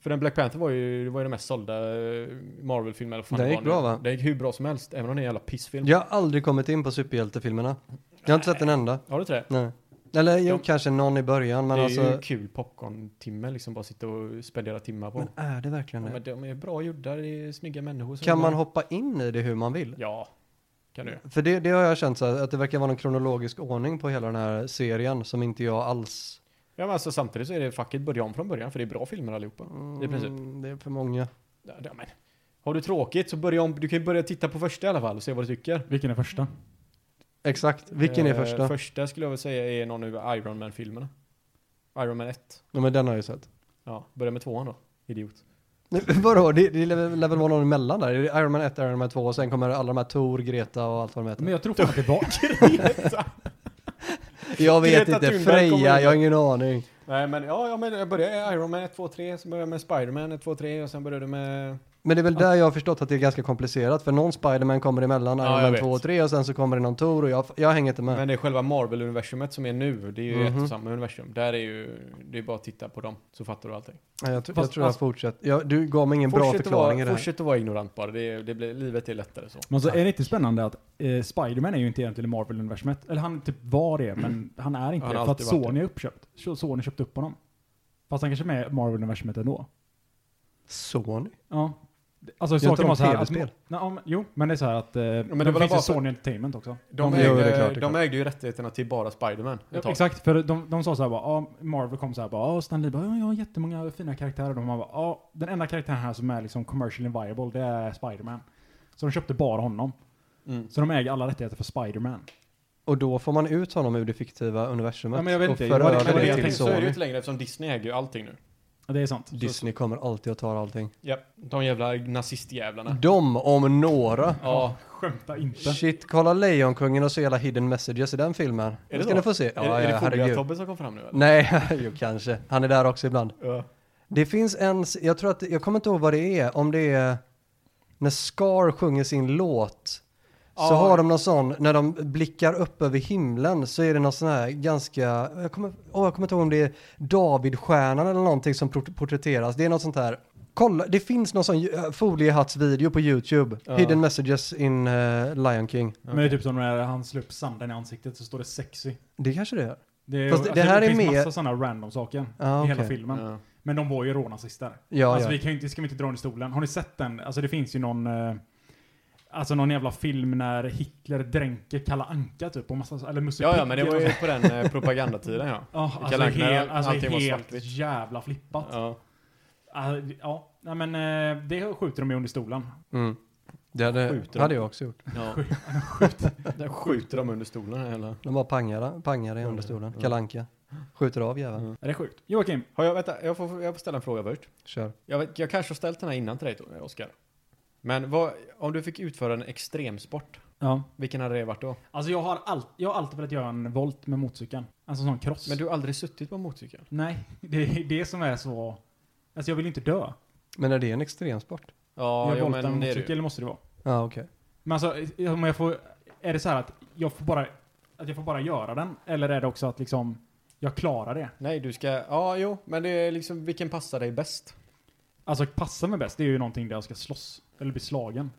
Speaker 3: För den Black Panther var ju, det var ju den mest sålda eh, Marvel-filmen. eller vad fan
Speaker 4: Den
Speaker 3: det
Speaker 4: gick
Speaker 3: var
Speaker 4: bra,
Speaker 3: nu.
Speaker 4: va?
Speaker 3: Den gick hur bra som helst, även om det är en jävla pissfilm.
Speaker 4: Jag har aldrig kommit in på superhjältefilmerna. Jag har inte sett en enda.
Speaker 3: Har du inte det?
Speaker 4: Nej. Eller jo,
Speaker 3: De-
Speaker 4: kanske någon i början, men
Speaker 3: det är
Speaker 4: alltså...
Speaker 3: ju en kul popcorn-timme, liksom bara sitta och spendera timmar på.
Speaker 4: Men är det verkligen
Speaker 3: ja,
Speaker 4: det?
Speaker 3: men de är bra gjorda, det är snygga människor. som
Speaker 4: Kan
Speaker 3: gör
Speaker 4: man
Speaker 3: det.
Speaker 4: hoppa in i det hur man vill?
Speaker 3: Ja, kan du.
Speaker 4: För det, det har jag känt så här, att det verkar vara någon kronologisk ordning på hela den här serien som inte jag alls...
Speaker 3: Ja, men alltså samtidigt så är det facket börja om från början, för det är bra filmer allihopa. I princip.
Speaker 4: Mm, Det är för många.
Speaker 3: Ja, ja, men. Har du tråkigt så börja om, du kan ju börja titta på första i alla fall och se vad du tycker.
Speaker 1: Vilken är första?
Speaker 4: Exakt. Vilken är
Speaker 3: Eh,
Speaker 4: första?
Speaker 3: Första skulle jag väl säga är någon ur Iron Man-filmerna. Iron Man 1.
Speaker 4: Ja, men den har jag ju sett.
Speaker 3: Ja, börja med tvåan då. Idiot.
Speaker 4: Nej, Vadå? Det, det lär lär väl vara någon emellan där? Det är Iron Man 1, Iron Man 2 och sen kommer alla de här Tor, Greta och allt vad de heter.
Speaker 1: Men jag tror fan att det var...
Speaker 4: jag vet
Speaker 3: Greta
Speaker 4: inte.
Speaker 3: Thunberg kommer
Speaker 4: Freja,
Speaker 3: in.
Speaker 4: jag har ingen aning.
Speaker 3: Nej men ja, ja men jag började Iron Man 1, 2, 3, sen började jag med Spider-Man 1, 2, 3 och sen började jag med...
Speaker 4: Men det är väl där jag har förstått att det är ganska komplicerat. För någon Spiderman kommer emellan
Speaker 3: Ja,
Speaker 4: Iron
Speaker 3: jag
Speaker 4: Man
Speaker 3: vet.
Speaker 4: 2 och 3 och sen så kommer det någon Tor och jag, jag hänger inte med.
Speaker 3: Men det är själva Marvel-universumet som är nu, det är ju ett
Speaker 4: Mhm.
Speaker 3: och samma universum. Där är ju, det är bara att titta på dem så fattar du allting.
Speaker 4: Nej, jag, tr- jag
Speaker 1: Fast-
Speaker 4: tror jag
Speaker 1: fast-
Speaker 4: fortsätter. Jag, du gav mig ingen bra
Speaker 3: Fortsätt att
Speaker 4: förklaring i
Speaker 3: vara,
Speaker 4: det här.
Speaker 3: fortsätt att vara ignorant bara, det, det blir, livet är lättare så.
Speaker 1: Men så är det inte spännande att eh, Spiderman är ju inte egentligen i Marvel-universumet. Eller han typ var det, men han är inte
Speaker 3: Han
Speaker 1: det.
Speaker 3: har
Speaker 1: För att
Speaker 3: alltid varit
Speaker 1: Sony är uppköpt. Så- Sony köpte upp honom. Fast han kanske är med i Marvel-universumet ändå.
Speaker 4: Sony?
Speaker 1: Ja. Alltså
Speaker 4: inte
Speaker 1: saken
Speaker 4: de
Speaker 1: var så här. Att,
Speaker 4: tv-spel?
Speaker 1: Nej, ja, men- jo, men det är så här att eh, men
Speaker 3: det
Speaker 1: det
Speaker 3: var
Speaker 1: finns ju
Speaker 3: bara för-
Speaker 1: Sony Entertainment också.
Speaker 3: De,
Speaker 4: Jo,
Speaker 3: ägde,
Speaker 4: det är klart, det är
Speaker 3: de
Speaker 4: klart.
Speaker 3: ägde ju rättigheterna till bara Spider-Man ett
Speaker 1: Ja,
Speaker 3: tag.
Speaker 1: exakt, för de, de sa så här bara, ja, Marvel kom så här bara, ja, Stan Lee bara, ja, jag har jättemånga fina karaktärer. Och man bara, ja, den enda karaktären här som är liksom commercially viable, det är Spiderman. Så de köpte bara honom.
Speaker 3: Mm.
Speaker 1: Så de äger alla rättigheter för Spiderman.
Speaker 4: Och då får man ut honom ur det fiktiva universumet
Speaker 1: Ja, men jag vet
Speaker 4: och
Speaker 1: inte.
Speaker 4: för
Speaker 1: Det var det-
Speaker 4: över
Speaker 1: det var det
Speaker 4: det
Speaker 1: jag
Speaker 4: till
Speaker 1: tänkte.
Speaker 3: så är det ju
Speaker 4: Sony.
Speaker 3: inte längre eftersom Disney äger ju allting nu.
Speaker 1: Ja, det är sant.
Speaker 4: Disney kommer alltid att ta allting.
Speaker 3: Ja, de jävla nazistjävlarna.
Speaker 4: De om några.
Speaker 3: Ja,
Speaker 1: Skämta inte.
Speaker 4: Shit, kolla Lejonkungen och så hela hidden messages i den filmen.
Speaker 3: det
Speaker 4: Det ska
Speaker 3: så?
Speaker 4: ni få se. Ja,
Speaker 3: är, är
Speaker 4: ja,
Speaker 3: det
Speaker 4: herregud.
Speaker 3: Fobia-Tobbe som kom fram nu eller?
Speaker 4: Nej, jo kanske. Han är där också ibland.
Speaker 3: Ja.
Speaker 4: Det finns en, jag tror att, jag kommer inte ihåg vad det är, om det är när Scar sjunger sin låt. Så
Speaker 3: Ja.
Speaker 4: har de någon sån, när de blickar upp över himlen så är det någon sån här ganska, jag kommer, åh, jag kommer inte ihåg om det är Davidstjärnan eller någonting som port- porträtteras. Det är något sånt här, kolla, det finns någon sån eh, Foliehatts-video på YouTube.
Speaker 3: Ja.
Speaker 4: Hidden messages in eh, Lion King.
Speaker 1: Men det är typ som när han slår upp sanden i ansiktet så står det sexy.
Speaker 4: Det kanske det är.
Speaker 1: Det, är, alltså,
Speaker 4: Fast det här
Speaker 1: det
Speaker 4: är
Speaker 1: finns
Speaker 4: mer-
Speaker 1: massa sådana random saker
Speaker 4: Ja,
Speaker 1: i hela
Speaker 4: Ah, okej.
Speaker 1: filmen.
Speaker 3: Ja.
Speaker 1: Men de var ju rånazister.
Speaker 4: Ja,
Speaker 1: alltså
Speaker 4: ja.
Speaker 1: vi kan ju inte, ska vi inte dra under stolen. Har ni sett den? Alltså det finns ju någon, eh, alltså någon jävla film när Hitler dränker Kalle Anka typ och massa, eller Musse
Speaker 3: Ja, ja,
Speaker 1: Pigg
Speaker 3: men det var
Speaker 1: eller
Speaker 3: ju
Speaker 1: något.
Speaker 3: på den eh, propagandatiden ja.
Speaker 1: Ja,
Speaker 3: Kalle
Speaker 1: alltså,
Speaker 3: Anka,
Speaker 1: helt, alltså
Speaker 3: allting var
Speaker 1: helt
Speaker 3: svartvitt.
Speaker 1: jävla flippat. Ja,
Speaker 3: ja.
Speaker 1: alltså, ja. Nej, men eh, det skjuter de ju under stolen.
Speaker 4: Mm. Det hade,
Speaker 3: Skjuter de?
Speaker 4: hade jag också gjort.
Speaker 3: ja. Där skjuter de under stolen hela.
Speaker 4: De bara pangar, pangar i understolen. Kalle Anka. Skjuter av jäveln.
Speaker 1: Är det sjukt? Joakim,
Speaker 3: Har jag, vänta, jag får, jag får ställa en fråga först.
Speaker 4: Kör.
Speaker 3: Jag, vet, jag kanske har ställt den här innan till dig då, Oskar. Men vad, om du fick utföra en extremsport,
Speaker 1: ja.
Speaker 3: vilken hade det varit då?
Speaker 1: alltså jag har, all, jag har alltid velat göra en volt med motorcykeln. Alltså en sån cross.
Speaker 3: Men du har aldrig suttit på en motorcykel?
Speaker 1: Nej, det är det som är så... Alltså jag vill inte dö.
Speaker 4: Men är det en extremsport?
Speaker 3: Ja,
Speaker 1: jag
Speaker 3: jo,
Speaker 1: voltar med
Speaker 3: men det är
Speaker 1: motorcykel
Speaker 3: du.
Speaker 1: måste det vara.
Speaker 4: Ja, Ah, okej.
Speaker 1: Men alltså, om jag får... Är det så här att jag får bara... Att jag får bara göra den? Eller är det också att liksom... Jag klarar det?
Speaker 3: Nej, du ska, ja, jo, men det är liksom, vilken passar dig bäst?
Speaker 1: Alltså passa mig bäst, det är ju någonting där jag ska slåss. Eller bli slagen.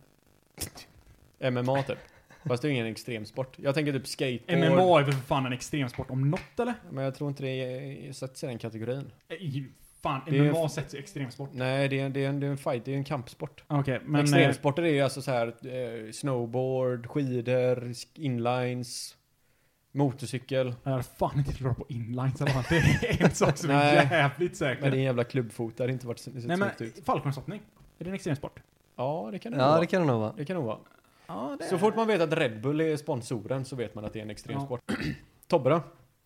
Speaker 3: MMA typ. Fast det är ju ingen extremsport. Jag tänker typ skateboard.
Speaker 1: MMA är väl för fan en extremsport om något eller?
Speaker 3: Men jag tror inte det är- sätts i den kategorin.
Speaker 1: Ej, Fan,
Speaker 3: Det är-
Speaker 1: MMA sätts i extremsport.
Speaker 3: Nej, det är, det är, en, det är en fight, det är en kampsport.
Speaker 1: Okej, men... eh,
Speaker 3: Extremsporter är ju alltså så här eh, snowboard, skidor, sk- inlines, motorcykel.
Speaker 1: Jag hade fan inte klarat på inlines eller något. Det är en sak som är
Speaker 3: Nej.
Speaker 1: jävligt
Speaker 3: Men det är
Speaker 1: säker.
Speaker 3: en jävla klubbfot, det hade inte varit så,
Speaker 1: Nej men,
Speaker 3: snyggt ut.
Speaker 1: fallskärmshoppning. Är det en extremsport?
Speaker 3: Ja, det kan det nog
Speaker 4: Ja,
Speaker 3: vara.
Speaker 4: det kan det nog vara.
Speaker 3: Det kan nog vara.
Speaker 1: Ja,
Speaker 3: Så fort man vet att Red Bull är sponsoren så vet man att det är en extremsport. Tobbe då?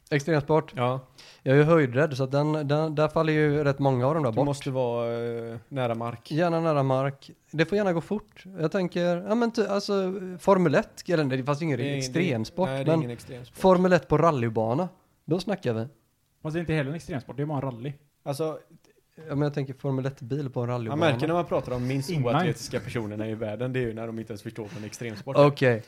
Speaker 4: Extremsport.
Speaker 3: Ja.
Speaker 4: Jag är ju höjdrädd så att den, den, där faller ju rätt många av dem där
Speaker 3: Du
Speaker 4: bort.
Speaker 3: måste vara eh, nära mark.
Speaker 4: Gärna nära mark. Det får gärna gå fort. Jag tänker, ja men ty, alltså Formel 1, eller nej, det fanns ju ingen
Speaker 3: Det är ingen-
Speaker 4: extremsport,
Speaker 3: Nej, det är
Speaker 4: men
Speaker 3: ingen extremsport.
Speaker 4: Formel 1 på rallybana, då snackar vi.
Speaker 1: Fast det är inte heller en extremsport, det är bara en rally.
Speaker 3: Alltså,
Speaker 4: Ja men jag tänker Formel 1-bil på en
Speaker 3: man
Speaker 4: rallybana.
Speaker 3: märker när man pratar om minst
Speaker 1: Inline.
Speaker 3: oatletiska personerna i världen, det är ju när de inte ens förstår vad en extremsport är.
Speaker 4: Okej,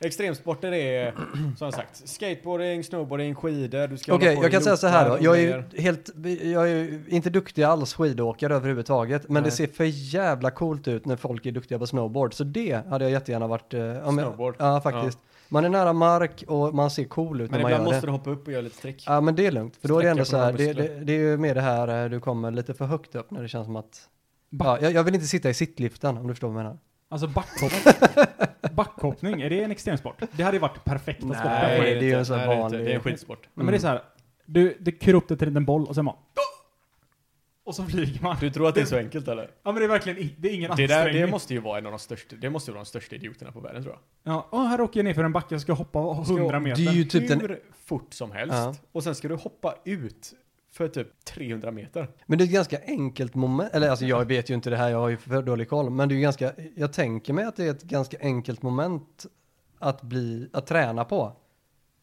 Speaker 3: Extremsporter är, som sagt, skateboarding, snowboarding, skidor, du ska
Speaker 4: Okej,
Speaker 3: hålla på
Speaker 4: jag kan
Speaker 3: och
Speaker 4: säga så här
Speaker 3: loopa
Speaker 4: då. Jag är ju
Speaker 3: grejer.
Speaker 4: helt, jag är ju inte duktig alls skidåkare överhuvudtaget,
Speaker 3: Nej.
Speaker 4: men det ser för jävla coolt ut när folk är duktiga på snowboard, så det hade jag jättegärna varit. eh, om jag-
Speaker 3: Snowboard.
Speaker 4: Ja, faktiskt. Man är nära mark och man ser cool ut
Speaker 3: Men
Speaker 4: när man
Speaker 3: ibland
Speaker 4: gör det.
Speaker 3: måste du hoppa upp och göra lite trick.
Speaker 4: Ja men det är lugnt, för då är det
Speaker 3: Sträcka
Speaker 4: ändå
Speaker 3: på
Speaker 4: så här,
Speaker 3: några
Speaker 4: det,
Speaker 3: muskler.
Speaker 4: det, det är ju mer det här eh, du kommer lite för högt upp när det känns som att,
Speaker 1: Ba-
Speaker 4: ja, jag, jag vill inte sitta i sittliften om du förstår vad jag menar.
Speaker 1: Alltså backhoppning. backhoppning, är det en extremsport? Det hade ju varit perfekta sporten.
Speaker 4: Nej,
Speaker 1: Nej,
Speaker 4: det är ju
Speaker 3: inte.
Speaker 4: en sån
Speaker 3: Nej, det är inte.
Speaker 4: vanlig-
Speaker 3: Det är en skitsport.
Speaker 1: Men det är så här. Du, du kör upp det till en liten boll och sen bara... Och så flyger man.
Speaker 3: Du tror att det är så enkelt eller?
Speaker 1: Ja men det är verkligen in, det är ingen
Speaker 3: Det, där,
Speaker 1: ansträngning.
Speaker 3: det måste ju vara en av de största, det måste ju vara de största idioterna på världen tror jag.
Speaker 1: Ja, åh, här åker jag ner för en backe och ska hoppa 100 meter.
Speaker 4: Det är ju typ
Speaker 3: Hur
Speaker 4: den,
Speaker 3: fort som helst.
Speaker 4: Ja.
Speaker 3: Och sen ska du hoppa ut för typ 300 meter.
Speaker 4: men det är ett ganska enkelt moment, eller alltså jag vet ju inte det här, jag har ju för dålig koll, men det är ju ganska, jag tänker mig att det är ett ganska enkelt moment att bli, att träna på.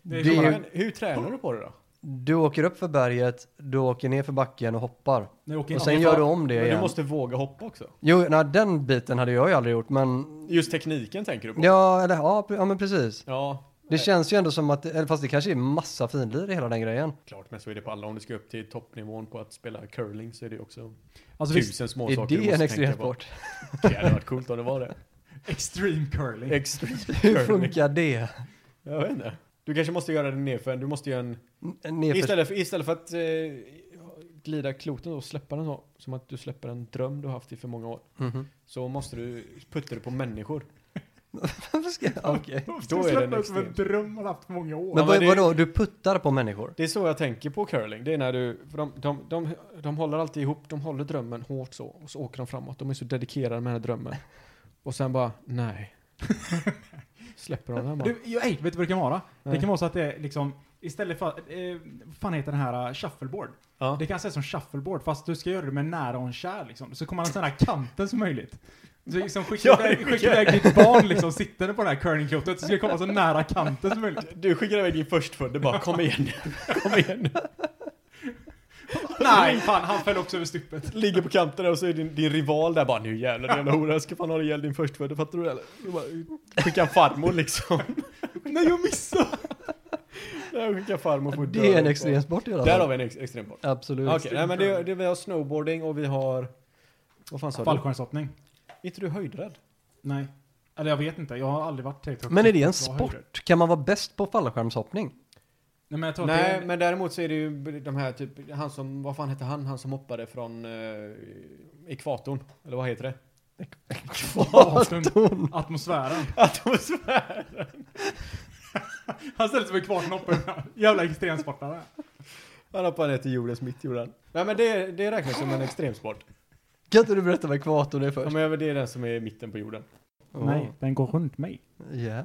Speaker 1: Det är
Speaker 4: det är ju-
Speaker 3: Men hur tränar du på det då?
Speaker 4: Du åker upp för berget, du åker ner för backen och hoppar.
Speaker 1: När jag åker
Speaker 4: Och
Speaker 1: in-
Speaker 4: sen gör du om det
Speaker 3: Men
Speaker 4: igen.
Speaker 3: du måste våga hoppa också.
Speaker 4: Jo, nej, den biten hade jag ju aldrig gjort, men
Speaker 3: Just tekniken tänker du på?
Speaker 4: ja, eller ja, pre- ja men precis.
Speaker 3: Ja,
Speaker 4: Det känns ju ändå som att, eller fast det kanske är massa finlir i hela den grejen.
Speaker 3: klart. Men så är det på alla. Om du ska upp till toppnivån på att spela curling så är det också
Speaker 1: Alltså visst,
Speaker 3: tusen små
Speaker 4: Är
Speaker 3: saker du
Speaker 4: det
Speaker 3: måste
Speaker 4: en
Speaker 3: tänka
Speaker 4: extrem
Speaker 3: på.
Speaker 4: sport?
Speaker 3: Det hade varit coolt om det var det.
Speaker 1: extreme curling.
Speaker 3: Extreme
Speaker 4: Hur
Speaker 3: curling.
Speaker 4: funkar det?
Speaker 3: Jag vet inte. Du kanske måste göra det nerför. Du måste göra en...
Speaker 4: N- Nerför...
Speaker 3: Istället för, istället för att eh, glida kloten och släppa den så. Som att du släpper en dröm du har haft i för många år.
Speaker 4: Mhm.
Speaker 3: Så måste du putta det på människor.
Speaker 4: Varför ska jag- Okej.
Speaker 1: Då
Speaker 3: Då är
Speaker 1: är
Speaker 3: den
Speaker 1: det som en
Speaker 3: extrem.
Speaker 1: dröm man haft många år.
Speaker 4: Men,
Speaker 3: men
Speaker 4: vad,
Speaker 3: det-
Speaker 4: vadå, du puttar på människor?
Speaker 3: Det är så jag tänker på curling. Det är när du, för de, de, de, de håller alltid ihop, de håller drömmen hårt så. Och så åker de framåt. De är så dedikerade med den här drömmen. Och sen bara, nej. Släpper de den bara.
Speaker 1: Du, jag, ej, vet du vad det kan vara? Det
Speaker 3: Nej.
Speaker 1: kan vara så att det är liksom, istället för, eh, vad fan heter den här, uh, shuffleboard?
Speaker 3: Ja.
Speaker 1: Det kan ses som shuffleboard, fast du ska göra det med nära och en kär liksom. Så kommer man så nära kanten som möjligt. Så liksom skicka
Speaker 3: Ja,
Speaker 1: iväg,
Speaker 3: skicka.
Speaker 1: skicka iväg ditt barn liksom, sittande på det här curlingklotet, så ska det komma så nära kanten som möjligt.
Speaker 3: Du skickar iväg din förstfödde bara, kom igen nu. Kom igen nu.
Speaker 1: Nej, fan, han föll också över stupet.
Speaker 3: Ligger på kanten där och så är din, din rival där bara nu jävlar din jävla hora, jag ska fan ha ihjäl din förstfödde, fattar du det, eller? Du bara, Skicka farmor liksom.
Speaker 1: Nej, jag missade!
Speaker 3: Nej, Skicka farmor får
Speaker 4: Det är en
Speaker 3: dö.
Speaker 4: extrem sport i alla
Speaker 3: Där
Speaker 4: fall.
Speaker 3: har vi en ex, extrem bort.
Speaker 4: Absolut.
Speaker 3: Okej, nej men det, det, vi har snowboarding och vi har... Vad fan sa du?
Speaker 1: Fallskärmshoppning?
Speaker 3: Är inte du höjdrädd?
Speaker 1: Nej. Eller jag vet inte, jag har aldrig varit tillräckligt högt
Speaker 4: Men är
Speaker 1: upp
Speaker 4: det
Speaker 1: för
Speaker 4: en
Speaker 1: att vara höjdrädd.
Speaker 4: sport? Kan man vara bäst på fallskärmshoppning?
Speaker 1: Nej, men jag tror att det
Speaker 3: Nej,
Speaker 1: är...
Speaker 3: men däremot så är det ju de här typ, han som, vad fan hette han, han som hoppade från eh, ekvatorn? Eller vad heter det?
Speaker 1: Kvarton. Atmosfären.
Speaker 3: Atmosfär!
Speaker 1: Han ställde sig på kvarten och hoppade. Jävla extremsportare.
Speaker 3: Han hoppade ner till jordens mitt, gjorde han. Nej men det, det räknas som en extremsport.
Speaker 4: Kan inte du berätta vad ekvatorn är
Speaker 3: Ja,
Speaker 4: först?
Speaker 3: men det är den som är i mitten på jorden.
Speaker 1: Nej, den går runt mig.
Speaker 4: Ja.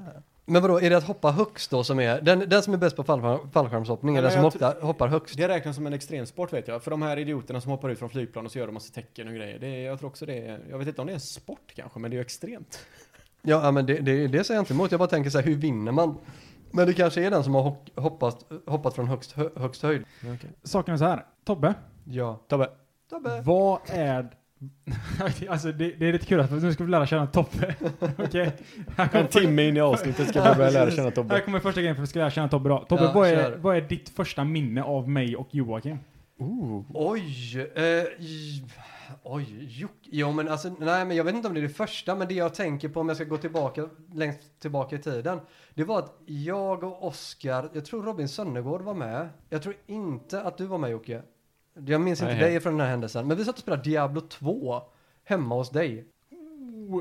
Speaker 4: Men vadå, är det att hoppa högst då som är, den, den som är bäst på fall, fallskärmshoppning är
Speaker 3: Ja,
Speaker 4: den
Speaker 3: men
Speaker 4: som
Speaker 3: jag
Speaker 4: hoppar, hoppar högst?
Speaker 3: Det räknas som en extremsport vet jag. För de här idioterna som hoppar ut från flygplan och så gör de massa tecken och grejer. Det, är- jag tror också det är, jag vet inte om det är en sport kanske, men det är ju extremt.
Speaker 4: Ja, ja, men det, det, det säger jag inte emot, jag bara tänker så här, hur vinner man? Men det kanske är den som har hock- hoppat, hoppat från högst, hö, högst höjd?
Speaker 1: Saken är så här. Tobbe,
Speaker 4: Ja.
Speaker 3: Tobbe.
Speaker 4: Tobbe!
Speaker 1: vad är... alltså det, det är lite kul att nu ska vi lära känna Tobbe. Okej? Här,
Speaker 3: En
Speaker 1: kommer för-
Speaker 3: timme in i avsnittet ska vi börja lära känna
Speaker 1: här
Speaker 3: Tobbe.
Speaker 1: kommer första grejen för att vi ska lära känna Tobbe idag. Tobbe,
Speaker 4: Ja,
Speaker 1: vad,
Speaker 4: kör.
Speaker 1: är, vad är ditt första minne av mig och Joakim?
Speaker 4: Oj, eh, j- oj, juck. Jo, men alltså, nej, men jag vet inte om det är det första, men det jag tänker på om jag ska gå tillbaka, längst tillbaka i tiden, det var att jag och Oskar, jag tror Robin Sönnegård var med, jag tror inte att du var med Jocke. Jag minns inte
Speaker 3: Nej.
Speaker 4: dig från den här händelsen, men vi satt och spelade Diablo 2 hemma hos dig.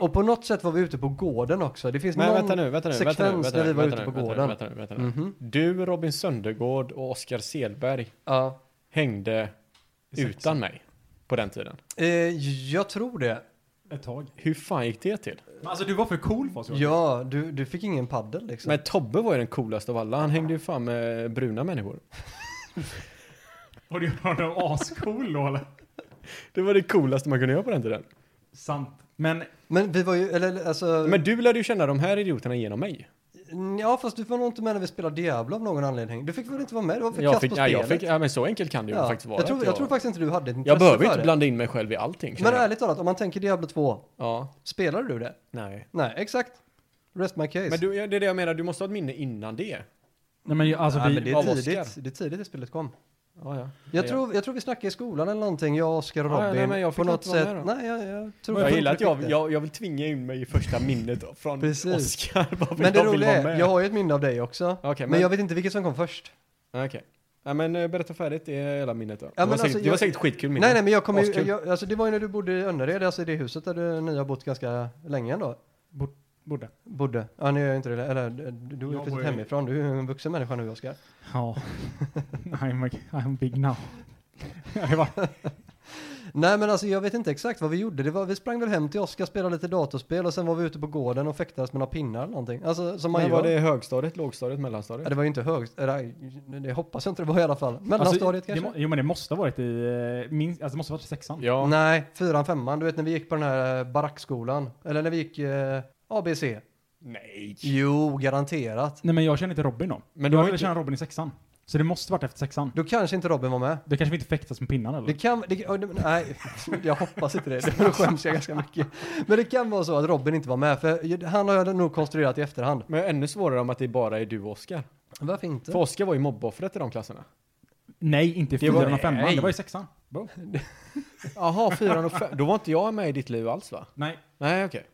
Speaker 4: Och på något sätt var vi ute på gården också. Det finns
Speaker 3: Men
Speaker 4: någon...
Speaker 3: vänta nu, vänta nu, vänta nu,
Speaker 4: sekvens
Speaker 3: vänta
Speaker 4: när
Speaker 3: nu,
Speaker 4: vi var
Speaker 3: vänta
Speaker 4: ute
Speaker 3: nu,
Speaker 4: på
Speaker 3: vänta nu,
Speaker 4: gården.
Speaker 3: vänta nu, vänta nu.
Speaker 4: Mhm.
Speaker 3: Du, Robin Söndergård och Oskar Selberg
Speaker 4: Ja.
Speaker 3: hängde
Speaker 1: Exakt.
Speaker 3: utan mig på den tiden.
Speaker 4: Eh, jag tror det.
Speaker 1: Ett tag.
Speaker 3: Hur fan gick det till?
Speaker 1: Men Alltså du var för cool för oss Joakim.
Speaker 4: Ja, du, du fick ingen paddel liksom.
Speaker 3: Men Tobbe var ju den coolaste av alla. Han hängde ju fan med bruna människor.
Speaker 1: Och du var nog ascool då eller?
Speaker 3: Det var det coolaste man kunde göra på den tiden.
Speaker 1: Sant. Men
Speaker 4: Men vi var ju, eller alltså...
Speaker 3: Men du lärde ju känna de här idioterna genom mig.
Speaker 4: Ja, fast du var nog inte med när vi spelade Diablo av någon anledning. Du fick väl inte vara med? Det var för
Speaker 3: Jag
Speaker 4: kast
Speaker 3: fick,
Speaker 4: på
Speaker 3: ja, jag
Speaker 4: spelet.
Speaker 3: fick, ja, men så enkelt kan det ju
Speaker 4: Ja,
Speaker 3: faktiskt vara.
Speaker 4: jag, tror,
Speaker 3: att
Speaker 4: jag, tror faktiskt inte du hade ett intresse
Speaker 3: jag behöver
Speaker 4: för
Speaker 3: inte
Speaker 4: det.
Speaker 3: blanda in mig själv i allting.
Speaker 4: Men
Speaker 3: känner jag.
Speaker 4: ärligt talat, om man tänker Diablo 2,
Speaker 3: Ja,
Speaker 4: spelade du det?
Speaker 3: nej.
Speaker 4: Nej, exakt. Rest my case.
Speaker 3: Men du, ja, det är det jag menar, du måste ha ett minne innan det.
Speaker 1: Nej men alltså
Speaker 4: Nej,
Speaker 1: vi...
Speaker 4: men det
Speaker 3: av
Speaker 4: är
Speaker 3: Oscar.
Speaker 4: tidigt. Det är tidigt det spelet kom.
Speaker 3: Ja, ja.
Speaker 4: Jag, tror, jag tror vi snackade i skolan eller någonting, jag, Oskar och
Speaker 3: Ja,
Speaker 4: Robin.
Speaker 3: ja, nej, men jag
Speaker 4: på
Speaker 3: fick
Speaker 4: något
Speaker 3: inte vara
Speaker 4: sätt.
Speaker 3: med då.
Speaker 4: Nej, jag, jag tror
Speaker 3: Jag, jag
Speaker 4: inte
Speaker 3: gillar att
Speaker 4: du
Speaker 3: jag,
Speaker 4: fick det.
Speaker 3: jag, jag vill tvinga in mig i första minnet från
Speaker 4: Precis.
Speaker 3: Oscar. bara för
Speaker 4: Men det
Speaker 3: jag vill
Speaker 4: roliga
Speaker 3: vara
Speaker 4: är,
Speaker 3: med.
Speaker 4: jag har ju ett minne av dig också.
Speaker 3: Okej,
Speaker 4: men...
Speaker 3: men-
Speaker 4: jag vet inte vilket som kom först.
Speaker 3: Okej. Ja, men eh, berätta färdigt det hela minnet då. det,
Speaker 4: men
Speaker 3: var
Speaker 4: alltså,
Speaker 3: säkert, det var
Speaker 4: jag-
Speaker 3: säkert skitkul minne.
Speaker 4: Nej, nej, men jag kommer ju,
Speaker 3: Askul.
Speaker 4: jag, alltså det var ju när du bodde i Önnered, alltså i det huset där du ni har bott ganska länge ändå.
Speaker 1: Borde.
Speaker 4: Bodde. Ja, nu gör jag inte det. Eller, du- du har ju
Speaker 1: Jag bor
Speaker 4: flyttat
Speaker 1: ju-
Speaker 4: hemifrån. Du är ju en vuxen människa nu, Oskar.
Speaker 1: Ja. I'm, a, I'm big now. Det var,
Speaker 4: Nej men alltså jag vet inte exakt vad vi gjorde. Det var, vi sprang väl hem till Oskar, spelade lite datorspel och sen var vi ute på gården och fäktades med några pinnar eller någonting. Alltså som man
Speaker 3: Men
Speaker 4: gör.
Speaker 3: var det högstadiet, lågstadiet,
Speaker 4: Ja,
Speaker 3: mellanstadiet?
Speaker 4: det var ju inte högt, nej, det hoppas jag inte det var i alla fall. Mellanstadiet
Speaker 1: det, må-
Speaker 4: kanske?
Speaker 1: Jo men det måste ha varit i, eh, minst, alltså det måste ha varit i sexan.
Speaker 3: Ja.
Speaker 4: Nej, fyran, femman, du vet när vi gick på den här eh, barackskolan. Eller när vi gick eh, ABC.
Speaker 3: Nej.
Speaker 4: Jo, garanterat.
Speaker 1: Nej men jag känner inte Robin då.
Speaker 3: Men
Speaker 1: Men
Speaker 3: du
Speaker 1: du
Speaker 3: har
Speaker 1: jag inte...
Speaker 3: inte-
Speaker 1: känner Robin i sexan. Så det måste varit efter sexan.
Speaker 4: Då kanske inte Robin var med.
Speaker 1: Det kanske vi inte fäktas med pinnar eller?
Speaker 4: Det kan, det, oh, det- nej, jag hoppas inte det. Då skäms jag ganska mycket. Men det kan vara så att Robin inte var med, för han har jag nog konstruerat i efterhand.
Speaker 3: Men ännu svårare om att det bara är du och Oskar.
Speaker 4: Varför inte?
Speaker 3: För Oskar var ju mobboffret i de klasserna.
Speaker 1: Nej, inte i
Speaker 3: Det var-
Speaker 1: fyran och femman.
Speaker 3: nej.
Speaker 1: Det var i sexan. Bo.
Speaker 3: Jaha, fyran och fem. Då var inte jag med i ditt liv alls va?
Speaker 1: Nej.
Speaker 3: Nej, okej.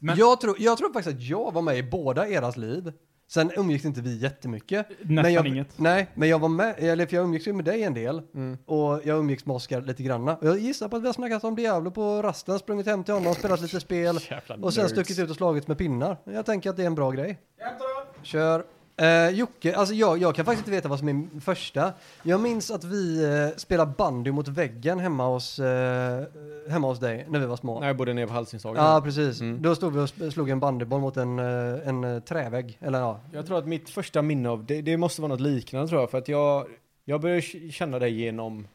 Speaker 1: Men-
Speaker 4: Jag, tror, jag tror faktiskt att jag var med i båda eras liv. Sen umgicks inte vi jättemycket.
Speaker 1: Nästan
Speaker 4: men jag,
Speaker 1: inget.
Speaker 4: Nej, men jag var med, eller för jag umgicks ju med dig en del.
Speaker 3: Mm.
Speaker 4: Och jag umgicks med Oskar lite granna. Och jag gissar på att vi har snackat om Diablo på rasten, sprungit hem till honom, spelat lite spel.
Speaker 3: Jävla
Speaker 4: och sen
Speaker 3: nerds.
Speaker 4: stuckit ut och slagit med pinnar. Jag tänker att det är en bra grej. Kör. Eh, Jocke, alltså jag, jag kan faktiskt inte veta vad som är min första. Jag minns att vi eh, spelade bandy mot väggen hemma hos, eh, hemma hos dig när vi var små.
Speaker 3: Nej, jag bodde nere på Halsingshagen.
Speaker 4: Ja, precis.
Speaker 3: Mm.
Speaker 4: Då stod vi och sp- slog en bandyboll mot en, eh, en eh, trävägg. Eller ja.
Speaker 3: Jag tror att mitt första minne av det, det måste vara något liknande tror jag. För att jag, jag började k- känna dig genom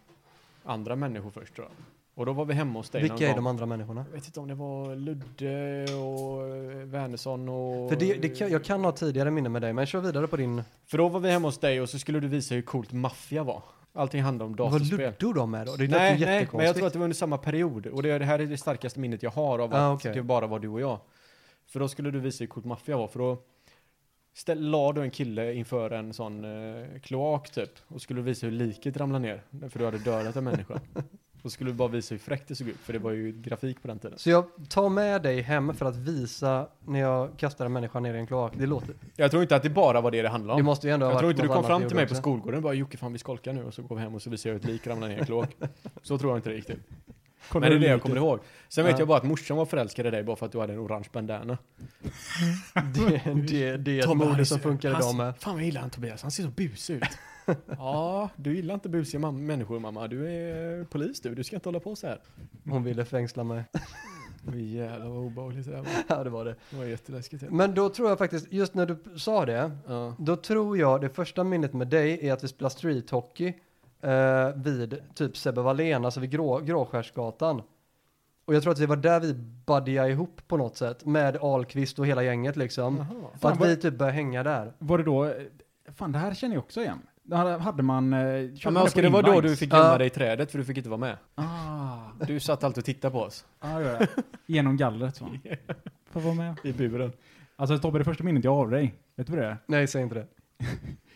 Speaker 3: andra människor först tror jag. Och då var vi hemma hos dig någon
Speaker 4: Vilka är
Speaker 3: gång.
Speaker 4: de andra människorna?
Speaker 3: Jag vet inte om det var Ludde och eh, Wernersson och...
Speaker 4: För det, det kan, jag kan ha tidigare minne med dig, men kör vidare på din...
Speaker 3: För då var vi hemma hos dig och så skulle du visa hur coolt maffia var. Allting handlade om
Speaker 4: Vad
Speaker 3: datorspel.
Speaker 4: Luddo de är då? Det låter
Speaker 3: Nej, nej,
Speaker 4: ju
Speaker 3: men jag
Speaker 4: jättekonstigt.
Speaker 3: tror att det var under samma period. Och det, det här är det starkaste minnet jag har av att
Speaker 4: Ah, okej.
Speaker 3: det bara var du och jag. För då skulle du visa hur coolt maffia var. För då ställ, la du en kille inför en sån eh, kloak typ. Och skulle du visa hur liket ramlade ner. För du hade dödat en människa. Och skulle du bara visa hur fräckt det såg ut. För det var ju grafik på den tiden.
Speaker 4: Så jag tar med dig hem för att visa när jag kastar en människa ner i en kloak. Det låter...
Speaker 3: Jag tror inte att det bara var det det handlade om.
Speaker 4: Det måste ju ändå ha
Speaker 3: Jag
Speaker 4: varit
Speaker 3: tror inte du
Speaker 4: något
Speaker 3: kom
Speaker 4: annat
Speaker 3: fram
Speaker 4: jag
Speaker 3: till mig
Speaker 4: gjorde
Speaker 3: på
Speaker 4: också.
Speaker 3: skolgården och bara Jocke fan vi skolkar nu och så går vi hem och så visar jag hur ett lik ramlar ner i en kloak. Så tror jag inte det gick till. Men det är det jag kommer ihåg. Sen vet
Speaker 4: Ja.
Speaker 3: jag bara att morsan var förälskad i dig bara för att du hade en orange bandana.
Speaker 4: Det, det, det är ett mode som funkar idag med.
Speaker 3: Fan vad jag gillar han Tobias, han ser så busig ut. ja, du gillar inte busiga mam- människor mamma. Du är eh, polis du, du ska inte hålla på så här.
Speaker 4: Hon ville fängsla mig.
Speaker 3: Åh, Jävlar vad obehagligt det där var.
Speaker 4: ja, det var det.
Speaker 3: Det var jätteläskigt.
Speaker 4: Men då tror jag faktiskt, just när du sa det,
Speaker 3: Ja.
Speaker 4: Då tror jag det första minnet med dig är att vi spelar street hockey eh, vid typ Sebbe Wallén, alltså vid Grå, Gråskärsgatan. Och jag tror att det var där vi buddiga ihop på något sätt med Ahlqvist och hela gänget liksom.
Speaker 3: Jaha.
Speaker 4: Och att
Speaker 1: Fan,
Speaker 4: vi typ började hänga där.
Speaker 1: Var det då... eh, Fan, det här känner jag också igen. Det här hade man... eh, körde
Speaker 3: Ja,
Speaker 1: man
Speaker 3: men Oskar, det var då
Speaker 1: inlines?
Speaker 3: du fick gömma
Speaker 4: Ja.
Speaker 3: dig i trädet för du fick inte vara med.
Speaker 1: Ah,
Speaker 3: Du satt alltid och tittade på oss.
Speaker 1: ah ja, ja. Genom gallret så. Får vara med.
Speaker 3: I buren.
Speaker 1: Alltså Tobbe, det första minnet jag har av dig, vet du vad det är?
Speaker 4: Nej, säg inte det.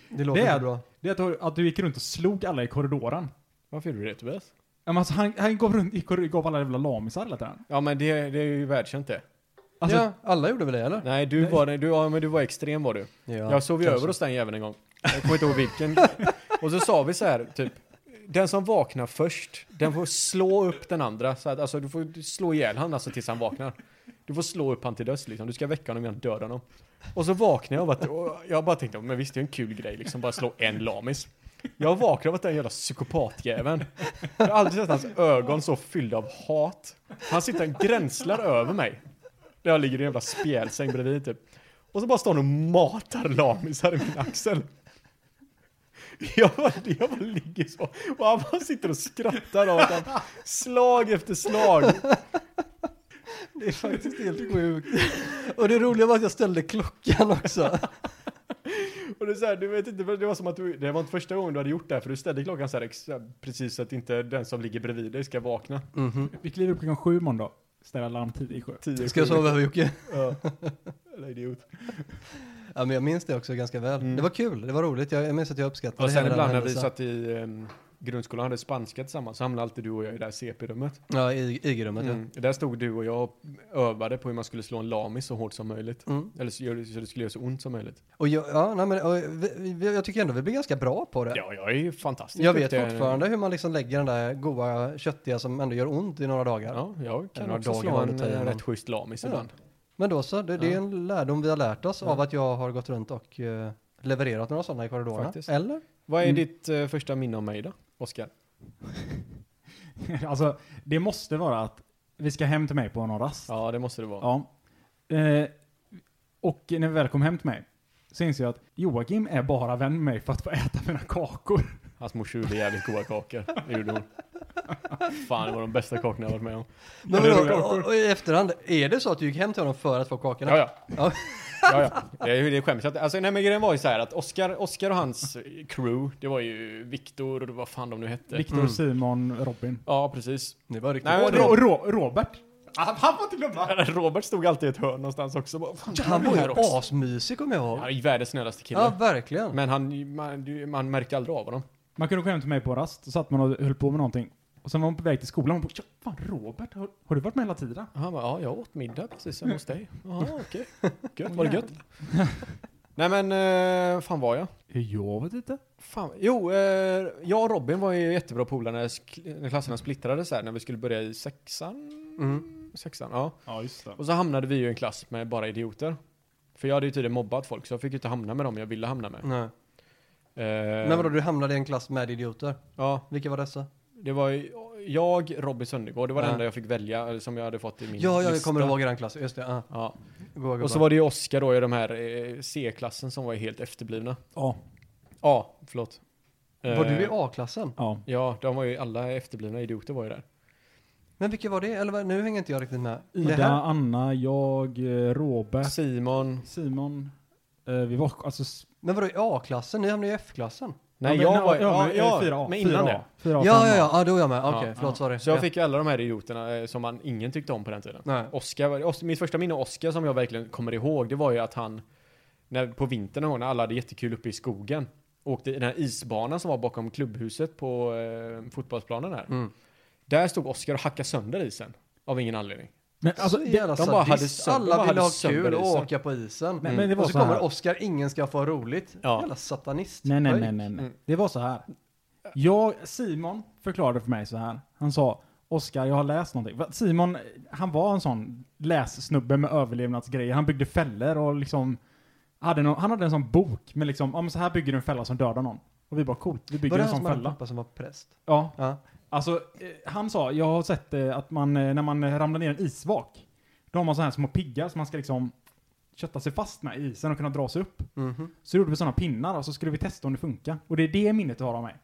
Speaker 4: Det låter
Speaker 1: Det är-
Speaker 4: inte bra.
Speaker 1: Det är att du, att du gick runt och slog alla i korridoren.
Speaker 3: Varför gjorde du det Tobias?
Speaker 1: Ja, men Alltså, han, han gav runt i korridoren, gav alla jävla lamisar hela tiden.
Speaker 3: Ja men det, det är ju världskänt det.
Speaker 1: Alltså,
Speaker 4: ja, alla gjorde väl det eller?
Speaker 3: Nej du var, du, ja, men du var extrem var du.
Speaker 4: Ja,
Speaker 3: jag sov ju
Speaker 4: kanske.
Speaker 3: över hos den jäveln en gång. Jag kommer inte ihåg vilken. Och så sa vi så här typ. Den som vaknar först, den får slå upp den andra. Så att, alltså, du får slå ihjäl han alltså tills han vaknar. Du får slå upp han till döds liksom. Du ska väcka honom innan döda honom. Och så vaknar jag av att, och jag bara tänkte, men visst det är en kul grej liksom, bara slå en lamis. Jag vaknar av att den jävla psykopatjäveln. Jag har aldrig sett hans ögon så fyllda av hat. Han sitter och gränslar över mig. Där jag ligger i en jävla spjälsäng bredvid typ. Och så bara står han och matar lamisar i min axel. Jag bara, jag bara ligger så. Och han bara sitter och skrattar åt han. Slag efter slag.
Speaker 4: Det är faktiskt helt sjukt. Och det roliga var att jag ställde klockan också.
Speaker 3: Och det är så här, du vet inte, det var som att du, det var inte första gången du hade gjort det här, för du ställde klockan så här ex, precis så att inte den som ligger bredvid dig ska vakna.
Speaker 1: vi kliver upp klockan sju måndag. Ställer larm tio i sju.
Speaker 3: Tio
Speaker 4: Mhm. Ska jag sova över Jocke?
Speaker 3: Ja. Eller idiot.
Speaker 4: Ja, men jag minns det också ganska väl. Det var kul, det var roligt. Jag, jag minns att jag uppskattade
Speaker 3: Och sen
Speaker 4: hela den
Speaker 3: ibland när vi
Speaker 4: händelsen.
Speaker 3: satt i ehm, grundskolan och hade spanska tillsammans så hamnade alltid du och jag i det här CP-rummet.
Speaker 4: Ja, i, i rummet ja.
Speaker 3: Mm. Där stod du och jag och övade på hur man skulle slå en lamis så hårt som möjligt.
Speaker 4: Mm.
Speaker 3: Eller så, gör- så det skulle göra så ont som möjligt.
Speaker 4: Och jag, ja, nej, men, och vi, vi, jag tycker ändå vi blir ganska bra på det.
Speaker 3: Ja, jag är ju fantastisk.
Speaker 4: jag vet
Speaker 3: duktig.
Speaker 4: fortfarande hur man liksom lägger den där goa köttiga som ändå gör ont i några dagar.
Speaker 3: Ja, jag kan
Speaker 4: Eller
Speaker 3: också
Speaker 4: dagen
Speaker 3: slå
Speaker 4: var det
Speaker 3: en
Speaker 4: tar
Speaker 3: eh,
Speaker 4: igenom.
Speaker 3: rätt schysst lamis
Speaker 4: Ja.
Speaker 3: ibland.
Speaker 4: Men då så, det, det är
Speaker 3: Ja.
Speaker 4: en lärdom vi har lärt oss
Speaker 3: Ja.
Speaker 4: av att jag har gått runt och eh, levererat några sådana i korridorerna.
Speaker 3: Faktiskt.
Speaker 4: Eller?
Speaker 3: Vad är
Speaker 1: Mm.
Speaker 3: ditt eh, första minne om mig då, Oskar?
Speaker 1: alltså, det måste vara att vi ska hem till mig på någon rast.
Speaker 3: Ja, det måste det vara.
Speaker 1: Ja. Eh, och när vi väl kom hem till mig så inser jag att Joakim är bara vän med mig för att få äta mina kakor.
Speaker 3: Hans morsa gjorde jävligt goda kakor. Det gjorde hon. Fan, det var de bästa kakorna jag varit med om.
Speaker 4: Men vadå, och, och i efterhand, är det så att du gick hem till honom för att få kakorna?
Speaker 3: Ja, ja.
Speaker 4: Ja.
Speaker 3: ja, ja. Det, är- det skäms jag inte. Alltså, nej, men grejen var ju så här att Oscar, Oscar och hans crew, det var ju Viktor och vad fan de nu hette.
Speaker 1: Viktor, Simon, Robin.
Speaker 3: Ja, precis.
Speaker 4: Det var riktigt.
Speaker 3: Nej,
Speaker 1: Och
Speaker 3: men
Speaker 1: Mm. Ro-
Speaker 3: Rob-
Speaker 1: Ro- Robert. Han, han får inte glömma.
Speaker 3: Robert stod alltid i ett hörn någonstans också. Bara, fan,
Speaker 4: han var
Speaker 3: är
Speaker 4: ju
Speaker 3: här också.
Speaker 4: asmysig kommer jag ihåg.
Speaker 3: Han är ju världens snällaste kille.
Speaker 4: Ja, verkligen.
Speaker 3: Men han, man, du, man märkte aldrig av honom.
Speaker 1: Man kunde gå hem till mig på rast, så satt man och höll på med någonting. Och sen var man på väg till skolan och man bara, "Ja, fan Robert, har, har du varit med hela tiden?
Speaker 3: Och Han bara, ja, jag åt middag precis hemma hos dig.
Speaker 4: Mm.
Speaker 3: Jaha, okej. Gött, var det gött? Nej men, eh, fan var jag?
Speaker 1: Jag vet inte.
Speaker 3: Fan. Jo, eh, jag och Robin var ju jättebra polare när, sk- när klasserna splittrades här, när vi skulle börja i sexan.
Speaker 4: Mm.
Speaker 3: Sexan, ja.
Speaker 1: Ja, just det.
Speaker 3: Och så hamnade vi ju i en klass med bara idioter. För jag hade ju tydligen mobbat folk, så jag fick ju inte hamna med dem jag ville hamna med.
Speaker 4: Nej.
Speaker 3: Eh,
Speaker 4: Mm. Men vadå, du hamnade i en klass med idioter?
Speaker 3: Ja,
Speaker 4: Vilka var dessa?
Speaker 3: det var ju jag, Robin Söndergaard, det var det
Speaker 4: Ja.
Speaker 3: enda jag fick välja, eller som jag hade fått i min
Speaker 4: Ja, ja, jag
Speaker 3: lista.
Speaker 4: kommer ihåg den klassen. Just det, ja.
Speaker 3: Ja.
Speaker 4: Goa
Speaker 3: Och så
Speaker 4: gubbar.
Speaker 3: var det ju Oskar då i de här eh, C-klassen som var ju helt efterblivna.
Speaker 1: Ja,
Speaker 3: Ja, förlåt.
Speaker 4: Var du i
Speaker 3: Eh,
Speaker 4: A-klassen?
Speaker 1: ja.
Speaker 3: Ja, de var ju alla efterblivna idioter var ju där.
Speaker 4: Men vilka var det? Eller vad- nu hänger inte jag riktigt med. Det
Speaker 1: Ida,
Speaker 4: här?
Speaker 1: Anna, jag, eh, Robert,
Speaker 3: Simon.
Speaker 1: Simon. Eh, vi var, alltså, s-
Speaker 4: Men vadå i A-klassen? Ni hamnade i F-klassen.
Speaker 3: Nej,
Speaker 1: ja, men-
Speaker 3: jag var...
Speaker 1: ja,
Speaker 3: Ja, ja,
Speaker 1: fyra A.
Speaker 3: men innan det.
Speaker 1: 4A,
Speaker 4: Ja, ja, ja, ja, då är jag med. Okej,
Speaker 3: Ja,
Speaker 4: förlåt,
Speaker 1: ja.
Speaker 4: sorry.
Speaker 3: Så jag
Speaker 4: Ja.
Speaker 3: fick ju alla de här idioterna eh, som man ingen tyckte om på den tiden.
Speaker 4: Nej.
Speaker 3: Oscar, var- Os- mitt första minne av Oscar som jag verkligen kommer ihåg, det var ju att han, när, på vintern en gång, när alla hade jättekul uppe i skogen, åkte i den här isbanan som var bakom klubbhuset på eh, fotbollsplanen här.
Speaker 4: Mm.
Speaker 3: Där stod Oscar och hackade sönder isen, av ingen anledning.
Speaker 1: Men alltså,
Speaker 4: så jävla
Speaker 3: de bara hade
Speaker 4: sadist.
Speaker 3: sönder- de bara
Speaker 4: Alla ville
Speaker 3: hade
Speaker 4: ha
Speaker 3: sönder
Speaker 4: kul och
Speaker 3: isen.
Speaker 4: åka på isen.
Speaker 1: Men- men det var
Speaker 4: och så,
Speaker 1: Mm. så
Speaker 4: kommer
Speaker 1: här.
Speaker 4: Oscar, ingen ska få ha roligt.
Speaker 3: Ja.
Speaker 4: Jävla satanist.
Speaker 1: Nej, nej,
Speaker 4: Oj.
Speaker 1: nej, nej, nej.
Speaker 3: Mm.
Speaker 1: Det var så här. Jag, Simon förklarade för mig så här. Han sa, Oskar, jag har läst någonting. Va, Simon, han var en sån lässnubbe med överlevnadsgrejer. Han byggde fällor och liksom, hade någon, han hade en sån bok med liksom, ja men så här bygger du en fälla som dödar någon. Och vi bara, coolt, vi
Speaker 4: Var
Speaker 1: bygger
Speaker 4: det
Speaker 1: en
Speaker 4: han som
Speaker 1: sån
Speaker 4: hade en
Speaker 1: fälla.
Speaker 4: pappa som var präst?
Speaker 1: Ja,
Speaker 4: Ja.
Speaker 1: alltså eh, han sa, jag har sett eh, att man, eh, när man eh, ramlar ner i en isvak, då har man så här små piggar som man ska liksom kötta sig fast med i isen och kunna dra sig upp.
Speaker 4: Mhm.
Speaker 1: Så gjorde vi sådana pinnar och så skulle vi testa om det funkar. Och det är det minnet jag har av mig.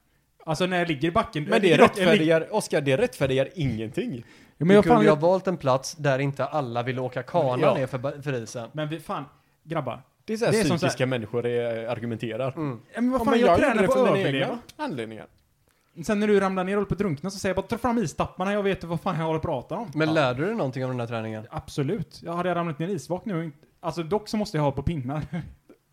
Speaker 1: Alltså när jag ligger i backen.
Speaker 3: Men det
Speaker 1: jag ligger- jag ligger-
Speaker 3: rättfärdigar, Oscar, det rättfärdigar ingenting.
Speaker 1: Ja,
Speaker 4: Men
Speaker 1: men, jag
Speaker 4: kunde
Speaker 1: fan, Mm,
Speaker 4: ju ha valt en plats där inte alla ville åka kana
Speaker 3: Ja.
Speaker 4: ner för, ba- för isen.
Speaker 1: men vi fan, grabbar.
Speaker 3: Det är så här
Speaker 1: Det är som
Speaker 3: psykiska
Speaker 1: så här-
Speaker 3: människor är, eh, argumenterar.
Speaker 1: Ja, men vad
Speaker 3: Ja,
Speaker 1: fan,
Speaker 3: men
Speaker 1: jag,
Speaker 3: gjorde
Speaker 1: tränar
Speaker 3: det
Speaker 1: på
Speaker 3: för
Speaker 1: att
Speaker 3: mina
Speaker 1: överleva.
Speaker 3: egna anledningar.
Speaker 1: Sen när du ramlar ner och håller på att drunkna så säger jag bara ta fram istapparna, jag vet vad fan jag håller på att prata om.
Speaker 4: Men
Speaker 3: Ja.
Speaker 4: lärde du dig någonting om den här träningen?
Speaker 1: Absolut. Jag hade jag ramlat ner i isvak nu, och inte- alltså dock så måste jag ha på pinnar.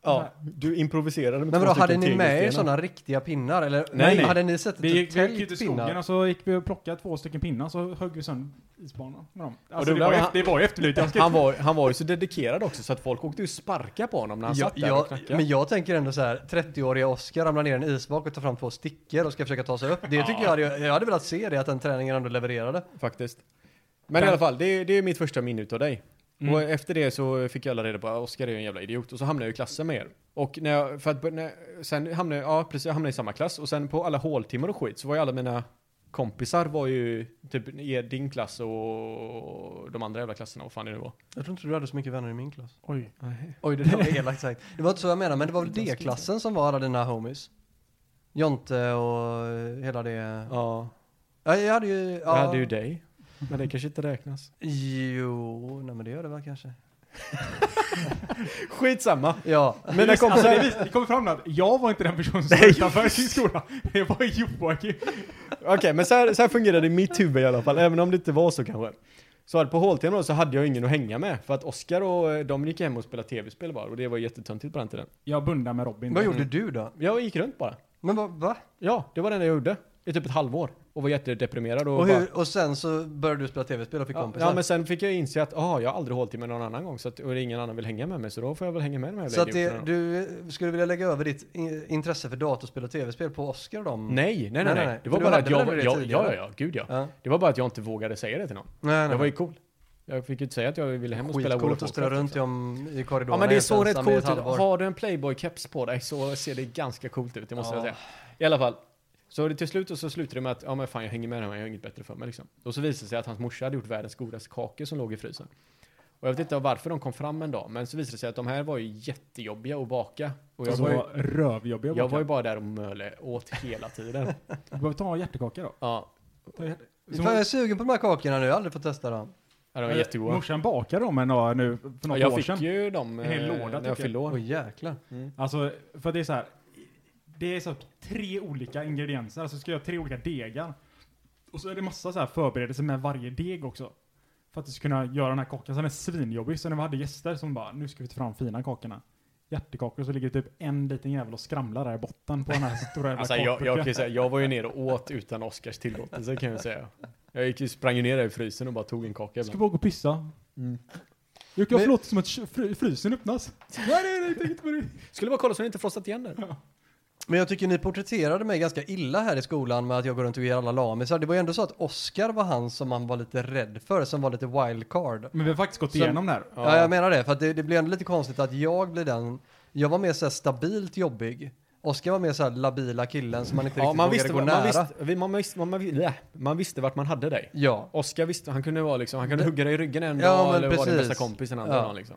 Speaker 3: Ja, du improviserade med två
Speaker 4: Men vadå, hade
Speaker 3: stycken
Speaker 4: ni med er
Speaker 3: tegelstenar.
Speaker 4: sådana riktiga pinnar? Eller
Speaker 1: Nej, nej.
Speaker 4: hade ni sett
Speaker 1: Vi gick, vi gick
Speaker 4: tält
Speaker 1: ut i skogen
Speaker 4: pinnar?
Speaker 1: och så gick vi och plockade två stycken pinnar så högg vi sönder isbanan med dem.
Speaker 3: Och då
Speaker 1: Alltså, det,
Speaker 3: blev
Speaker 1: var ju,
Speaker 3: han-
Speaker 1: efter- det var ju efterblivet. Jag ska
Speaker 3: Han var, han var ju så dedikerad också så att folk åkte ju sparka på honom när han
Speaker 4: Ja,
Speaker 3: satt där liksom. och
Speaker 4: jag,
Speaker 3: knackade.
Speaker 4: men jag tänker ändå så här, 30-åriga Oscar ramlar ner i en isvak och tar fram två stickor och ska försöka ta sig upp. Det tycker jag hade, jag hade velat se det, att den träningen ändå levererade.
Speaker 3: Faktiskt. Men i alla fall, det, är- det är mitt första minne utav dig. Och efter det så fick jag alla reda på att Oskar är en jävla idiot. Och så hamnade jag i klassen med er. Och när jag, för att, bör- när, sen hamnade jag, ja precis, jag hamnade i samma klass. Och sen på alla håltimmar och skit så var ju alla mina kompisar var ju typ i din klass och de andra jävla klasserna, vad fan det nu var.
Speaker 4: Jag tror inte du hade så mycket vänner i min klass.
Speaker 1: Oj.
Speaker 4: Oj, det där var elakt sagt. Det var inte så jag menade, men det var väl D-klassen som var alla dina homies? Jonte och hela det...
Speaker 3: Ja,
Speaker 4: Ja, jag hade ju...
Speaker 3: jag
Speaker 4: Ja,
Speaker 3: hade ju dig. Men det kanske inte räknas.
Speaker 4: Jo, nej men det gör det väl kanske.
Speaker 3: Skitsamma.
Speaker 4: Ja,
Speaker 3: Mina
Speaker 1: Alltså,
Speaker 3: kompisar,
Speaker 1: det, vis- det kommer fram att jag var inte den personen som stod utanför sin skola. Det var Joakim.
Speaker 3: Okej, men så här, så här fungerade mitt huvud i alla fall, även om det inte var så kanske. Så här, på håltimmen då så hade jag ingen att hänga med, för att Oskar och eh, de gick hem och spelade tv-spel bara, och det var jättetöntigt på den tiden.
Speaker 1: Jag bundade med Robin.
Speaker 4: vad gjorde du då?
Speaker 3: Jag gick runt bara.
Speaker 4: Men vad, va?
Speaker 3: Ja, det var det enda jag gjorde. I typ ett halvår. Och var jättedeprimerad och,
Speaker 4: Och,
Speaker 3: bara...
Speaker 4: hur, och sen så började du spela tv-spel och fick
Speaker 3: Ja,
Speaker 4: kompisar?
Speaker 3: ja, men sen fick jag inse att, ah, jag har aldrig håltimme någon annan gång, så att, och ingen annan vill hänga med mig, så då får jag väl hänga med de här
Speaker 4: Så
Speaker 3: jävla
Speaker 4: att det,
Speaker 3: idioterna då.
Speaker 4: du skulle vilja lägga över ditt in- intresse för datorspel och tv-spel på Oscar och dem?
Speaker 3: Nej, nej, nej,
Speaker 4: Nej,
Speaker 3: nej,
Speaker 4: nej, nej.
Speaker 3: Det var
Speaker 4: För du
Speaker 3: bara
Speaker 4: hade
Speaker 3: att jag,
Speaker 4: väl det
Speaker 3: jag, ja, ja,
Speaker 4: tidigare?
Speaker 3: ja, gud ja.
Speaker 4: Ja.
Speaker 3: Det var bara att jag inte vågade säga det till någon.
Speaker 4: Nej,
Speaker 3: Jag
Speaker 4: nej.
Speaker 3: var ju cool. Jag fick ju inte säga att jag ville hem och spela World of
Speaker 4: Skitcoolt att spela
Speaker 3: Warcraft.
Speaker 4: runt i, om, i korridorerna
Speaker 3: Ja men det är
Speaker 4: helt
Speaker 3: så rätt
Speaker 4: ensam i ett
Speaker 3: coolt ut.
Speaker 4: halvår.
Speaker 3: Har du en Playboy-keps på dig så ser det ganska coolt ut, det måste
Speaker 4: Ja.
Speaker 3: jag säga. I alla fall. Så det- till slut och så slutade det med att, ja men fan jag hänger med den här, jag har inget bättre för mig liksom. Och så visade det sig att hans morsa hade gjort världens godaste kakor som låg i frysen. Och jag vet inte varför de kom fram en dag, men så visade det sig att de här var ju jättejobbiga att baka. Och jag,
Speaker 1: Alltså,
Speaker 3: var, ju,
Speaker 1: var rövjobbiga
Speaker 3: jag
Speaker 1: bakar.
Speaker 3: var ju bara där och möle åt hela tiden.
Speaker 1: Du behöver ta hjärtekaka då.
Speaker 3: ja,
Speaker 1: Ta hjärt...
Speaker 4: Fan, jag är sugen på de här kakorna nu, jag har aldrig fått testa dem.
Speaker 3: ja, de var jättegoda.
Speaker 1: Morsan bakade dem en dag nu för
Speaker 3: Ja,
Speaker 1: något
Speaker 3: jag
Speaker 1: år
Speaker 3: fick
Speaker 1: sedan.
Speaker 3: ju dem
Speaker 1: En hel
Speaker 3: eh,
Speaker 1: låda,
Speaker 3: när jag
Speaker 1: tycker jag.
Speaker 3: fyllde år.
Speaker 4: Åh jäklar.
Speaker 3: Mm.
Speaker 1: Alltså, för det är så här. Det är så tre olika ingredienser, alltså ska jag göra tre olika degar. Och så är det massa så här förberedelser med varje deg också. För att du ska kunna göra den här kakan. Sen är det svinjobbig. Så när vi hade gäster som bara, nu ska vi ta fram fina kakorna. Hjärtekakor, så ligger det typ en liten jävel och skramlar där i botten på den här stora jävla
Speaker 3: Alltså, jag, jag,
Speaker 1: kakburken.
Speaker 3: kan ju säga, jag var ju nere och åt utan Oscars tillåtelse kan jag säga. Jag gick ju, sprang ju ner där i frysen och bara tog en kaka.
Speaker 1: Ska
Speaker 3: ibland.
Speaker 1: bara gå och pissa. Jocke,
Speaker 4: Mm. Men-
Speaker 1: varför låter det som att kö- fry- frysen öppnas? nej, nej, nej, jag tänkte på det.
Speaker 3: Skulle bara kolla så den inte frostat igen där.
Speaker 4: Men jag tycker ni porträtterade mig ganska illa här i skolan med att jag går runt och ger alla lamisar. Det var ju ändå så att Oscar var han som man var lite rädd för, som var lite wildcard.
Speaker 1: Men vi har faktiskt gått
Speaker 4: Så-
Speaker 1: igenom det här.
Speaker 4: Ja. jag menar det. För att det, det blir ändå lite konstigt att jag blir den. Jag var mer så här stabilt jobbig. Oskar var mer så här labila killen som man inte
Speaker 3: Ja,
Speaker 4: riktigt
Speaker 3: man
Speaker 4: vågade
Speaker 3: visste,
Speaker 4: gå
Speaker 3: man,
Speaker 4: nära.
Speaker 3: visste, vi- man, visste, man, man, bleh, man visste vart man hade dig.
Speaker 4: Ja.
Speaker 3: Oskar visste, han kunde vara liksom, han kunde hugga dig i ryggen en
Speaker 4: Ja,
Speaker 3: dag
Speaker 4: men
Speaker 3: eller vara din
Speaker 4: precis.
Speaker 3: bästa kompis en annan
Speaker 4: Ja.
Speaker 3: dag liksom.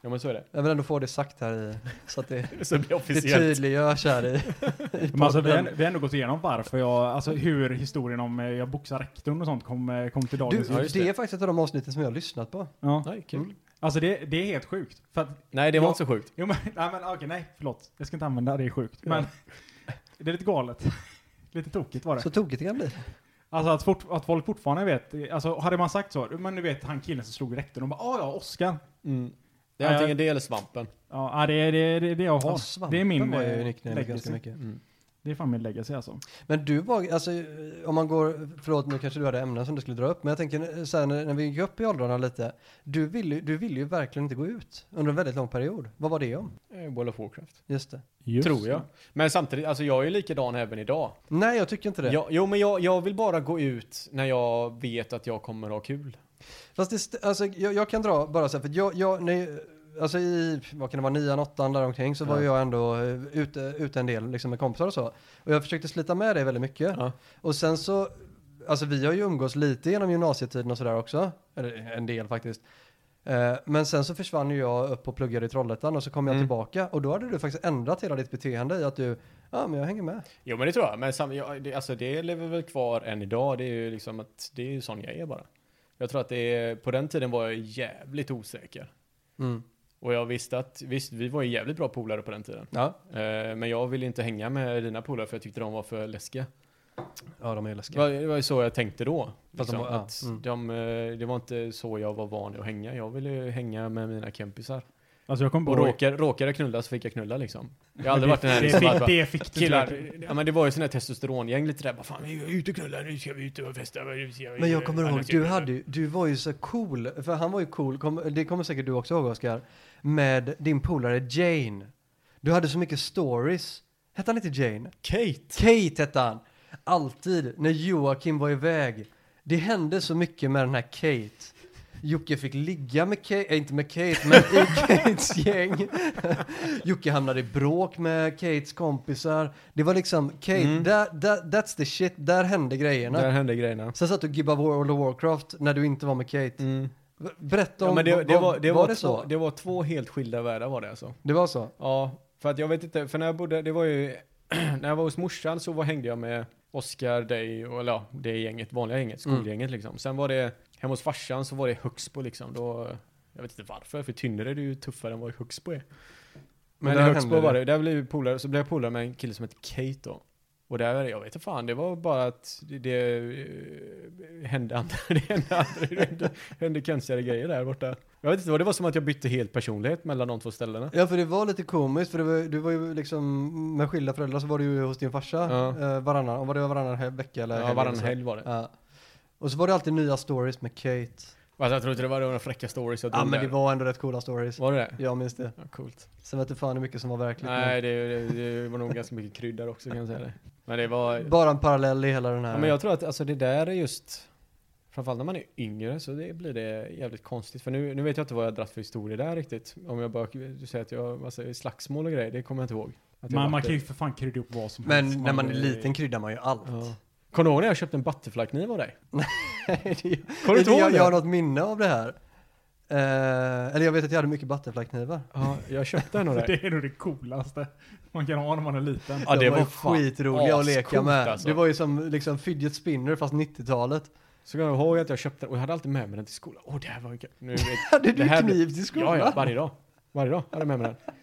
Speaker 3: Ja men så är det.
Speaker 4: Jag vill ändå få det sagt här i, så att det,
Speaker 3: Så blir det
Speaker 4: det
Speaker 3: officiellt.
Speaker 4: tydliggörs här i, i
Speaker 1: Men alltså, vi, har,
Speaker 4: podden.
Speaker 1: vi har ändå gått igenom varför jag, alltså hur historien om eh, jag boxar rektorn och sånt kom, eh, kom till
Speaker 4: Du,
Speaker 1: dagens
Speaker 3: Ja,
Speaker 1: ljus.
Speaker 3: just
Speaker 4: det
Speaker 3: det.
Speaker 4: är faktiskt ett av de avsnitten som jag har lyssnat på.
Speaker 1: Ja.
Speaker 3: Nej, kul.
Speaker 1: Alltså det, det är helt sjukt. För att,
Speaker 3: Nej det var
Speaker 1: Ja.
Speaker 3: inte så sjukt.
Speaker 1: jo men, nej men okej, nej, förlåt. Jag ska inte använda det, är sjukt. Men det är lite galet. lite tokigt var det.
Speaker 4: Så tokigt det kan bli.
Speaker 1: Alltså att, fort, att folk fortfarande vet, alltså hade man sagt så, men du vet han killen som slog rektorn, de bara ah ja, Oskar.
Speaker 3: Mm. Det är antingen det eller svampen.
Speaker 1: Ja, ja, det är det, det, är det jag har.
Speaker 4: Ja, svampen
Speaker 1: det är min
Speaker 4: var ju
Speaker 1: eh,
Speaker 4: nickname ganska
Speaker 1: legacy.
Speaker 4: mycket.
Speaker 3: Mm.
Speaker 1: Det är fan min legacy alltså.
Speaker 4: Men du var, alltså om man går, förlåt nu kanske du hade ämnen som du skulle dra upp, men jag tänker eh, så här när, när vi gick upp i åldrarna lite, du ville du vill ju verkligen inte gå ut under en väldigt lång period. Vad var det om?
Speaker 3: Eh, World of Warcraft.
Speaker 4: Just det.
Speaker 3: Tror jag. Men samtidigt, alltså jag är ju likadan även idag.
Speaker 4: Nej, jag tycker inte det.
Speaker 3: Jag, jo men jag, jag vill bara gå ut när jag vet att jag kommer ha kul.
Speaker 4: Fast det, st- alltså, jag, jag kan dra bara så här, för att jag, jag nej, alltså i, vad kan det vara, nian, åttan där omkring så var
Speaker 3: Ja.
Speaker 4: jag ändå eh, ute, ute en del liksom med kompisar och så. Och jag försökte slita med det väldigt mycket.
Speaker 3: Ja.
Speaker 4: Och sen så, alltså vi har ju umgås lite genom gymnasietiden och sådär också. Eller en del faktiskt. Eh, Men sen så försvann ju jag upp och pluggade i Trollhättan och så kom jag
Speaker 3: Mm.
Speaker 4: tillbaka och då hade du faktiskt ändrat hela ditt beteende i att du, ja men jag hänger med.
Speaker 3: Jo men det tror jag, men sam, jag, det, alltså, det lever väl kvar än idag. Det är ju liksom att, det är ju sån jag är bara. Jag tror att det är, på den tiden var jag jävligt osäker.
Speaker 4: Mm.
Speaker 3: Och jag visste att, visst vi var ju jävligt bra polare på den tiden.
Speaker 4: Ja.
Speaker 3: Eh, men jag ville inte hänga med dina polare för jag tyckte de var för läskiga.
Speaker 4: ja, de är ju
Speaker 3: Det
Speaker 4: läskiga.
Speaker 3: var, det var ju så jag tänkte då.
Speaker 4: Fast de
Speaker 3: Liksom,
Speaker 4: var- ja,
Speaker 3: att
Speaker 4: mm.
Speaker 3: de, eh, det var inte så jag var van vid att hänga. Jag ville ju hänga med mina kompisar.
Speaker 1: Alltså jag kommer
Speaker 3: Och
Speaker 1: ihåg-
Speaker 3: råkade, råkade jag knulla så fick jag knulla liksom. Jag har aldrig
Speaker 1: Det-
Speaker 3: varit den här
Speaker 1: det,
Speaker 3: liksom att
Speaker 1: fick,
Speaker 3: bara-
Speaker 1: det fick du inte.
Speaker 3: Killar, ja men det var ju sån här testosterongäng lite där, bara fan vi är ute och knullar, nu ska vi ut och festa. nu ska vi-
Speaker 4: Men jag kommer ihåg,
Speaker 3: Annars-
Speaker 4: du, hade, ju- du var ju så cool, för han var ju cool, kom, det kommer säkert du också ihåg Oskar, med din polare Jane. Du hade så mycket stories. Hette han inte Jane?
Speaker 3: Kate!
Speaker 4: Kate hette han. Alltid när Joakim var iväg. Det hände så mycket med den här Kate. Jocke fick ligga med Kate, äh, inte med Kate, men i Kates gäng. Jocke hamnade i bråk med Kates kompisar. Det var liksom, Kate, där, där, that's the shit, där hände grejerna.
Speaker 3: Där hände grejerna.
Speaker 4: Sen satt du och gibbade World of Warcraft när du inte var med Kate. Berätta om,
Speaker 3: Mm. Ja, men det,
Speaker 4: vad-
Speaker 3: det var, det var,
Speaker 4: det
Speaker 3: två,
Speaker 4: så?
Speaker 3: det var två helt skilda världar var det alltså.
Speaker 4: Det var så?
Speaker 3: Ja, för att jag vet inte, för när jag bodde, det var ju, när jag var hos morsan så var, hängde jag med Oscar, dig och eller ja, det gänget, vanliga gänget, skolgänget liksom. Sen var det, hemma hos farsan så var det Högsbo liksom. Då, jag vet inte varför, för Tynnered är ju tuffare än vad Högsbo är. Men,
Speaker 4: där
Speaker 3: i
Speaker 4: hände
Speaker 3: Högsbo var det, där blev vi polare, så blev jag polare med en kille som hette Kate då. Och där, jag vet inte fan, det var bara att det, det eh, hände andra, det hände andra, det hände, hände konstigare grejer där borta. Jag vet inte vad, det var som att jag bytte helt personlighet mellan de två ställena.
Speaker 4: Ja, för det var lite komiskt, för det var, du var ju liksom med skilda föräldrar så var du ju hos din farsa
Speaker 3: Ja.
Speaker 4: eh, varannan, om var det varannan he- vecka eller
Speaker 3: Ja,
Speaker 4: helg
Speaker 3: varannan
Speaker 4: eller så.
Speaker 3: helg var det.
Speaker 4: Ja. Och så var det alltid nya stories med Kate.
Speaker 3: Alltså, jag tror inte det var några fräcka stories jag
Speaker 4: Ja,
Speaker 3: drog
Speaker 4: men det
Speaker 3: där.
Speaker 4: var ändå rätt coola stories.
Speaker 3: Var det det?
Speaker 4: Jag minns det.
Speaker 3: Ja, coolt.
Speaker 4: Sen vet du fan hur mycket som var verkligt.
Speaker 3: Nej, det, det, det var nog ganska mycket kryddor också kan jag säga det. Men det var...
Speaker 4: men- Bara en parallell i hela den här.
Speaker 3: Ja, men jag tror att alltså, det där är just... Framförallt när man är yngre så det blir det jävligt konstigt. För nu, nu vet jag inte vad jag har dratt för historia där riktigt. Om jag bara du säger att jag alltså, slagsmål och grejer, det kommer jag inte ihåg. Att jag
Speaker 1: Man, man
Speaker 3: varit
Speaker 1: kan ju
Speaker 3: där.
Speaker 1: för fan krydda upp vad som helst.
Speaker 4: Men när man är
Speaker 1: det-
Speaker 4: liten kryddar man ju allt.
Speaker 3: Ja. Kommer du ihåg när jag köpte en butterflykniv av dig?
Speaker 4: Nej, det-
Speaker 3: Kommer du inte ihåg
Speaker 4: jag,
Speaker 3: det?
Speaker 4: jag har något minne av det här. Eh, eller jag vet att jag hade mycket butterflyknivar.
Speaker 3: Ja, jag köpte en av dig.
Speaker 1: Det är nog det coolaste man kan ha när man är liten.
Speaker 3: Ja, det
Speaker 4: De
Speaker 3: var
Speaker 4: ju
Speaker 3: fan
Speaker 4: skitroliga att leka
Speaker 3: ascoolt,
Speaker 4: med.
Speaker 3: alltså.
Speaker 4: Det var ju som liksom fidget spinner fast 90-talet.
Speaker 3: Så kommer jag ihåg att jag köpte den och jag hade alltid med mig den till skolan. Åh, det här var ju kul. Nu-
Speaker 4: Hade
Speaker 3: Det
Speaker 4: du
Speaker 3: här
Speaker 4: kniv till
Speaker 3: Ja,
Speaker 4: skolan?
Speaker 3: ja, varje dag. Varje dag hade jag med mig den.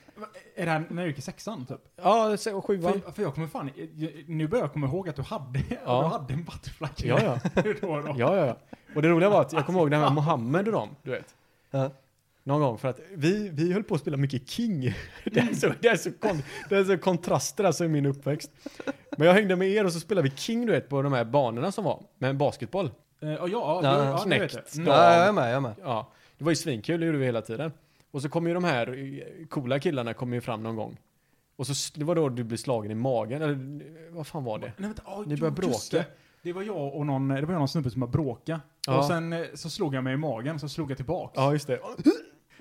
Speaker 1: Är det här när du gick i sexan typ?
Speaker 3: Ja, se- och sjuan.
Speaker 1: För, för jag kommer fan, nu börjar jag komma ihåg att du hade,
Speaker 3: Ja.
Speaker 1: du hade en butterfly.
Speaker 3: Ja, ja.
Speaker 1: då, då.
Speaker 3: Ja, ja, ja. Och det roliga var att jag kommer ihåg det här med Mohammed och dem, du vet.
Speaker 4: Ja.
Speaker 3: Någon gång, för att vi, vi höll på att spela mycket King. Det är så, det är så, kon, det är så kontraster alltså i min uppväxt. Men jag hängde med er och så spelade vi King, du vet, på de här banorna som var, med en basketboll.
Speaker 1: Eh, Ja, ja,
Speaker 4: Ja,
Speaker 1: ja, ja, det vet
Speaker 3: knäckt.
Speaker 1: jag. Mm.
Speaker 4: Ja, jag är med, jag är med.
Speaker 3: Ja, det var ju svinkul, det gjorde vi hela tiden. Och så kom ju de här eh, coola killarna kom ju fram någon gång. Och så, s- det var då du blev slagen i magen, eller eh, vad fan var det?
Speaker 1: Nej, vänta, oh,
Speaker 3: Ni började bråka.
Speaker 1: Det. det var jag och någon, det var jag och någon snubbe som började bråka.
Speaker 3: Ja.
Speaker 1: Och sen eh, så slog jag mig i magen, så slog jag tillbaks.
Speaker 3: Ja, just det.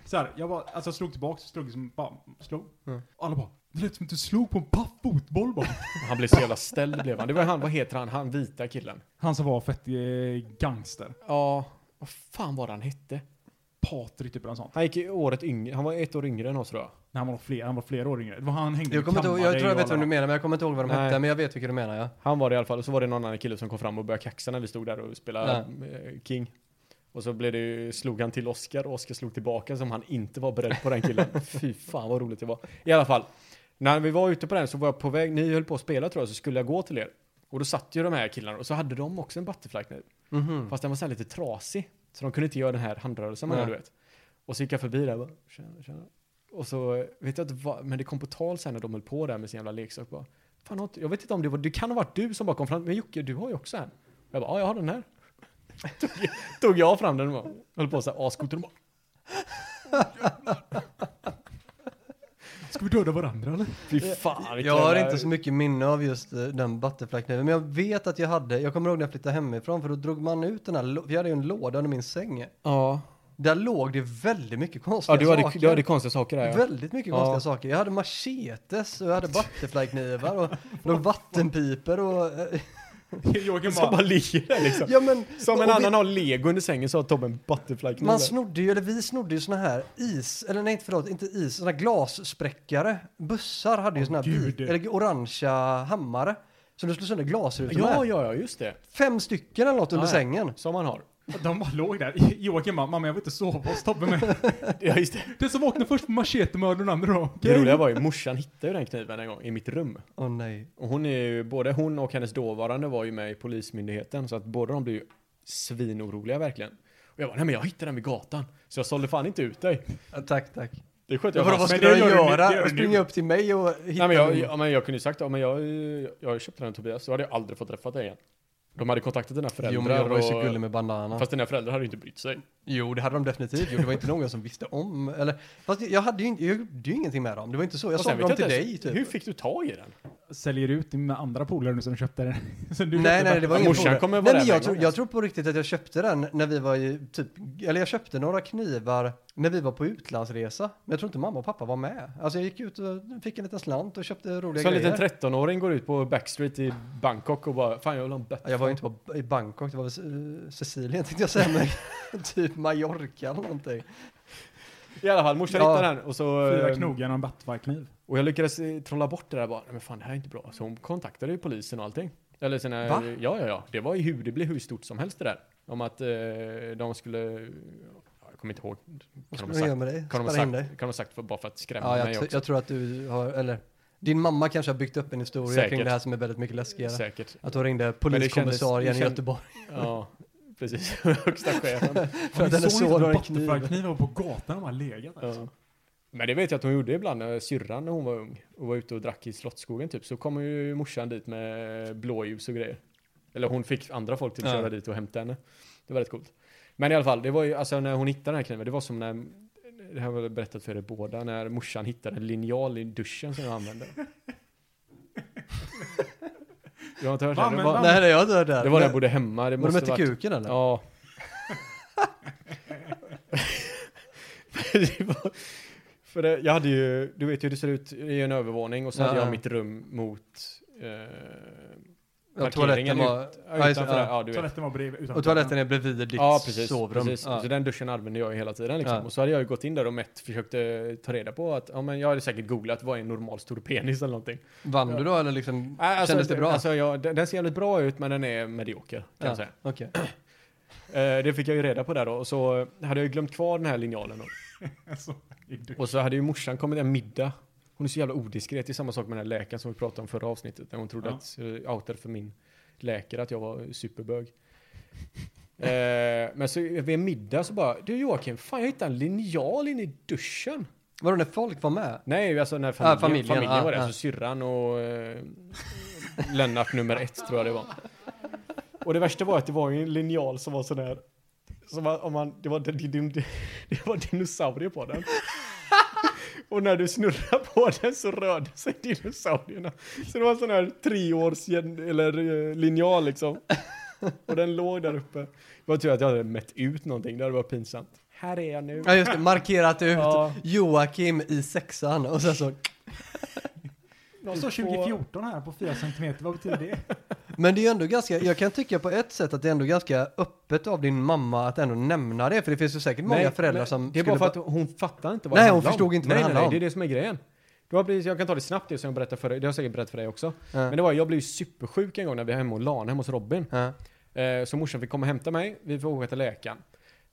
Speaker 1: Så här, jag bara, alltså jag slog tillbaks, slog som, bara, slog.
Speaker 3: Mm.
Speaker 1: Och alla bara, det lät som att du slog på en paff fotboll bara.
Speaker 3: Han blev så jävla ställd blev han. Det var han, vad heter han, han vita killen?
Speaker 1: Han som var fett eh, gangster.
Speaker 3: Ja, vad fan var det han hette?
Speaker 1: Patrik typ eller något sånt.
Speaker 3: Han gick i året yngre, han var ett år yngre än oss tror jag.
Speaker 1: Nej, han var fler, han var flera år yngre. Det var han hängde
Speaker 4: Jag, kommer inte ihåg, jag tror jag vet vem du
Speaker 1: menar.
Speaker 4: menar, men jag kommer inte ihåg vad de
Speaker 3: Nej.
Speaker 4: hette, men jag vet vilka du menar, ja.
Speaker 3: Han var det i alla fall, och så var det någon annan kille som kom fram och började kaxa när vi stod där och spelade eh, King. Och så blev det, ju- slog han till Oscar och Oscar slog tillbaka som han inte var beredd på den killen. Fy fan vad roligt det var. I alla fall, när vi var ute på den så var jag på väg, ni höll på att spela tror jag, så skulle jag gå till er. Och då satt ju de här killarna och så hade de också en butterflykniv.
Speaker 4: Mhm.
Speaker 3: Fast den var så här lite trasig. Så de kunde inte göra den här handrörelsen man gör,
Speaker 4: Nej.
Speaker 3: du vet. Och så gick jag förbi där och bara, tjena, tjena. Och så eh, vet jag inte vad, men det kom på tal sen när de höll på där med sin jävla leksak bara. Fan, har inte- jag vet inte om det var, det kan ha varit du som bara kom fram, men Jocke, du har ju också en. Jag bara, ja, jag har den här. tog, jag- tog jag fram den och bara, höll på så här ascoolt. Och de bara,
Speaker 1: Ska vi döda varandra eller?
Speaker 3: fy fan. vilken
Speaker 4: Jag har
Speaker 3: jävla-
Speaker 4: inte så mycket minne av just eh, den butterflykniven, men jag vet att jag hade, jag kommer ihåg när jag flyttade hemifrån, för då drog man ut den här, lå- vi hade ju en låda under min säng.
Speaker 3: Ja,
Speaker 4: Där låg det väldigt mycket konstiga
Speaker 3: ja du, hade,
Speaker 4: saker.
Speaker 3: du hade konstiga saker där. Ja.
Speaker 4: Väldigt mycket
Speaker 3: Ja.
Speaker 4: konstiga saker. Jag hade machetes och jag hade butterflyknivar och låg vattenpipor och... eh,
Speaker 1: Jörgen
Speaker 3: Som bara ligger där liksom.
Speaker 4: Ja men...
Speaker 3: Som en
Speaker 4: och vi-
Speaker 3: annan har lego under sängen så har Tobbe en butterflykniv.
Speaker 4: Man
Speaker 3: där.
Speaker 4: snodde ju, eller vi snodde ju såna här is, eller nej inte förlåt, inte is, såna här glasspräckare. Bussar hade ju
Speaker 1: Åh,
Speaker 4: såna här
Speaker 1: gud.
Speaker 4: bi- eller orangea hammare. Som du slog sönder glasrutor
Speaker 3: Ja,
Speaker 4: med.
Speaker 3: ja, ja, just det.
Speaker 4: Fem stycken eller något under
Speaker 3: Ja, ja.
Speaker 4: sängen.
Speaker 3: Som man har.
Speaker 1: De bara låg där. Joakim bara, mamma jag vill inte sova hos Tobbe med.
Speaker 3: Ja, just det.
Speaker 1: Den som vaknar först får machetemördaren den andra då.
Speaker 3: Det roliga var ju, morsan hittade ju den kniven en gång i mitt rum.
Speaker 4: Åh nej.
Speaker 3: Och hon är ju, både hon och hennes dåvarande var ju med i Polismyndigheten, så att båda de blev ju svinoroliga verkligen. Och jag bara, nej men jag hittade den vid gatan. Så jag sålde fan inte ut dig.
Speaker 4: Ja, tack, tack.
Speaker 3: Det sköt jag
Speaker 4: Vadå, vad
Speaker 3: fast.
Speaker 1: men
Speaker 4: skulle
Speaker 1: det
Speaker 4: jag
Speaker 1: gör du nu, det gör
Speaker 4: göra?
Speaker 1: du
Speaker 4: Springa
Speaker 1: nu.
Speaker 4: upp till mig och hitta
Speaker 3: Nej men jag,
Speaker 4: min-
Speaker 3: jag, men jag kunde ju sagt, ja, men jag, jag köpte den Tobias, så hade jag aldrig fått träffa dig igen. De hade kontaktat dina föräldrar
Speaker 4: Jo men jag var ju så
Speaker 3: och-
Speaker 4: gullig med bandana.
Speaker 3: Fast dina föräldrar hade ju inte brytt sig.
Speaker 4: Jo, det hade de definitivt gjort. Det var inte någon som visste om. Eller, fast jag, hade ju, inte- jag gjorde ju ingenting med dem. Det var inte så. Jag
Speaker 3: Och sen vet
Speaker 4: sålde dem till
Speaker 3: inte
Speaker 4: dig
Speaker 3: ens-
Speaker 4: typ.
Speaker 3: Hur fick du tag i den?
Speaker 1: Säljer ut din andra polare nu som köpte den. Sen du
Speaker 4: Nej,
Speaker 1: köpte
Speaker 4: nej, det var
Speaker 1: den.
Speaker 4: ingen
Speaker 3: Morsan
Speaker 4: fråga.
Speaker 3: kommer vara
Speaker 4: nej, men
Speaker 3: där
Speaker 4: jag,
Speaker 3: med
Speaker 4: tror,
Speaker 3: en gång,
Speaker 4: jag
Speaker 3: alltså.
Speaker 4: tror på riktigt att jag köpte den när vi var i typ, eller jag köpte några knivar när vi var på utlandsresa. Men jag tror inte mamma och pappa var med. Alltså jag gick ut och fick en liten slant och köpte roliga
Speaker 3: Så en liten
Speaker 4: grejer.
Speaker 3: 13-åring går ut på Backstreet i Bangkok och bara, fan jag vill ha en bet-
Speaker 4: Ja, jag var ju inte på, i Bangkok, det var väl eh, Sicilien tänkte jag säga, men typ Mallorca eller någonting.
Speaker 3: I alla fall, morsan
Speaker 4: Ja.
Speaker 3: hittade den och så...
Speaker 1: Fyra
Speaker 3: eh,
Speaker 1: knogar och en butterflykniv.
Speaker 3: Och jag lyckades eh, trolla bort det där bara, "Nej, men fan det här är inte bra. Så hon kontaktade ju polisen och allting. Eller sina,
Speaker 4: Va?
Speaker 3: ja ja ja, det var ju hur, det blev hur stort som helst det där. Om att eh, de skulle, ja, jag kommer inte ihåg.
Speaker 4: Vad
Speaker 3: Kan de
Speaker 4: skulle
Speaker 3: ha sagt,
Speaker 4: de göra med dig?
Speaker 3: kan de ha
Speaker 4: Spärra in
Speaker 3: sagt,
Speaker 4: dig?
Speaker 3: kan de ha sagt för, bara för att skrämma
Speaker 4: Ja,
Speaker 3: mig också.
Speaker 4: jag, tr- jag tror att du har, eller din mamma kanske har byggt upp en historia
Speaker 3: Säkert.
Speaker 4: kring det här som är väldigt mycket läskigare.
Speaker 3: Säkert.
Speaker 4: Att hon ringde
Speaker 3: kändes-
Speaker 4: poliskommissarien
Speaker 3: det
Speaker 4: i
Speaker 3: känd-
Speaker 4: Göteborg.
Speaker 3: Ja, precis. Högsta chefen.
Speaker 4: För att
Speaker 1: Ni
Speaker 4: hennes
Speaker 1: såg
Speaker 4: son
Speaker 1: inte
Speaker 4: har
Speaker 1: att
Speaker 4: en kniv.
Speaker 1: butterflykniv var på gatan och bara legat där.
Speaker 3: Ja. alltså. Men det vet jag att hon gjorde ibland när syrran när hon var ung och var ute och drack i Slottsskogen typ. Så kom ju morsan dit med blåljus och grejer. Eller hon fick andra folk till att
Speaker 4: Ja.
Speaker 3: köra dit och hämta henne. Det var rätt coolt. Men i alla fall, det var ju alltså när hon hittade den här kniven. Det var som när, det här var väl berättat för er båda, när morsan hittade en linjal i duschen som jag använde. Du har inte hört det?
Speaker 1: Va,
Speaker 3: här? Det
Speaker 1: men
Speaker 3: var,
Speaker 1: va?
Speaker 4: Nej, det har jag inte hört det här.
Speaker 3: det var när jag
Speaker 4: Men-
Speaker 3: bodde hemma. Det
Speaker 4: Var det
Speaker 3: måste
Speaker 4: med till
Speaker 3: varit
Speaker 4: kuken eller?
Speaker 3: Ja. det var, För det, jag hade ju, du vet ju hur det ser ut i en övervåning och så
Speaker 4: Ja,
Speaker 3: hade
Speaker 4: ja.
Speaker 3: jag mitt rum mot eh,
Speaker 4: Ja,
Speaker 3: parkeringen
Speaker 4: toaletten var,
Speaker 3: ut,
Speaker 4: ja, just det,
Speaker 3: utanför. Ja,
Speaker 4: ja.
Speaker 3: ja, du vet.
Speaker 1: Toaletten var bredvid. utanför.
Speaker 4: och toaletten är bredvid ditt
Speaker 3: Ja, precis.
Speaker 4: sovrum.
Speaker 3: precis.
Speaker 4: Ja.
Speaker 3: Så den duschen använde jag ju hela tiden liksom.
Speaker 4: Ja.
Speaker 3: Och så hade jag ju gått in där och mätt, försökte ta reda på att, ja men jag hade säkert googlat vad är en normal stor penis eller någonting.
Speaker 4: Vann du då eller liksom,
Speaker 3: Äh, alltså,
Speaker 4: kändes det bra?
Speaker 3: Alltså, jag, den, den ser jävligt bra ut men den är medioker kan
Speaker 4: Ja,
Speaker 3: jag säga.
Speaker 4: okej.
Speaker 3: Eh, det fick jag ju reda på där då. Och så hade jag ju glömt kvar den här linjalen då.
Speaker 1: Alltså, gick du.
Speaker 3: Och så hade ju morsan kommit en middag. Hon är så jävla odiskret. Det är samma sak med den här läkaren som vi pratade om förra avsnittet. När hon trodde
Speaker 1: Ja.
Speaker 3: att eh, jag outade för min läkare att jag var superbög. eh, men så vid en middag så bara, du Joakim, fan jag hittade en linjal inne i duschen.
Speaker 4: Vadå när folk var med?
Speaker 3: Nej, alltså när familjen,
Speaker 4: familjen,
Speaker 3: familjen,
Speaker 4: ja,
Speaker 3: var där,
Speaker 4: ja.
Speaker 3: så syrran och eh, Lennart nummer ett tror jag det var. Och det värsta var att det var ju en linjal som var sån här, som var, om man, det, var, det, det, det var dinosaurier på den. Och när du snurrar på den så rörde sig dinosaurierna. Så det var en sån här treårs eller eh, linjal liksom. Och den låg där uppe. Det var tur att jag hade mätt ut någonting, det hade varit pinsamt. Här är jag nu.
Speaker 4: Ja just det, markerat ut
Speaker 3: Ja.
Speaker 4: Joakim i sexan och sen så.
Speaker 1: Det står 2014 här på 4 cm, vad betyder det?
Speaker 4: Men det är ju ändå ganska, jag kan tycka på ett sätt att det är ändå ganska öppet av din mamma att ändå nämna det. För det finns ju säkert många
Speaker 3: Nej,
Speaker 4: föräldrar
Speaker 3: men
Speaker 4: som
Speaker 3: Det är
Speaker 4: skulle
Speaker 3: bara för att hon fattar inte vad
Speaker 4: Nej,
Speaker 3: det
Speaker 4: hon
Speaker 3: handlar om.
Speaker 4: förstod inte vad
Speaker 3: nej,
Speaker 4: det
Speaker 3: nej,
Speaker 4: handlade
Speaker 3: nej, det är det som är grejen. Det var precis, jag kan ta det snabbt, det som jag berättade för dig. Det har jag säkert berättat för dig också.
Speaker 4: Ja.
Speaker 3: Men det var, jag blev ju supersjuk en gång när vi var hemma och LAN hemma hos Robin.
Speaker 4: Ja.
Speaker 3: Eh, så morsan fick komma och hämta mig. Vi får åka till läkaren.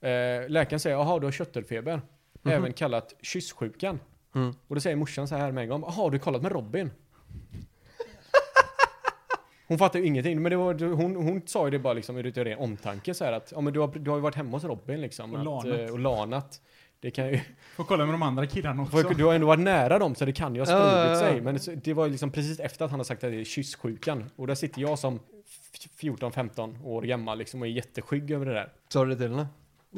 Speaker 3: Eh, läkaren säger, jaha, du har köttelfeber.
Speaker 4: Mhm.
Speaker 3: Även kallat kysssjukan.
Speaker 4: Mm.
Speaker 3: Och då säger morsan så här med en gång, jaha, har du kollat med Robin? Hon fattar ju ingenting, men det var, hon, hon sa ju det bara liksom ur ren omtanke så här att, ja men du har, du har ju varit hemma hos Robin liksom.
Speaker 1: Och
Speaker 3: att,
Speaker 1: lanat.
Speaker 3: eh, och lanat. Det kan ju,
Speaker 1: Får kolla med de andra killarna också.
Speaker 3: för du har ändå varit nära dem så det kan ju ha spridit
Speaker 4: Ja, ja, ja.
Speaker 3: sig. Men så- det var ju liksom precis efter att han har sagt att det är kysssjukan. Och där sitter jag som f- 14-15 år gammal liksom och är jätteskygg över det där.
Speaker 4: Sa du det till henne?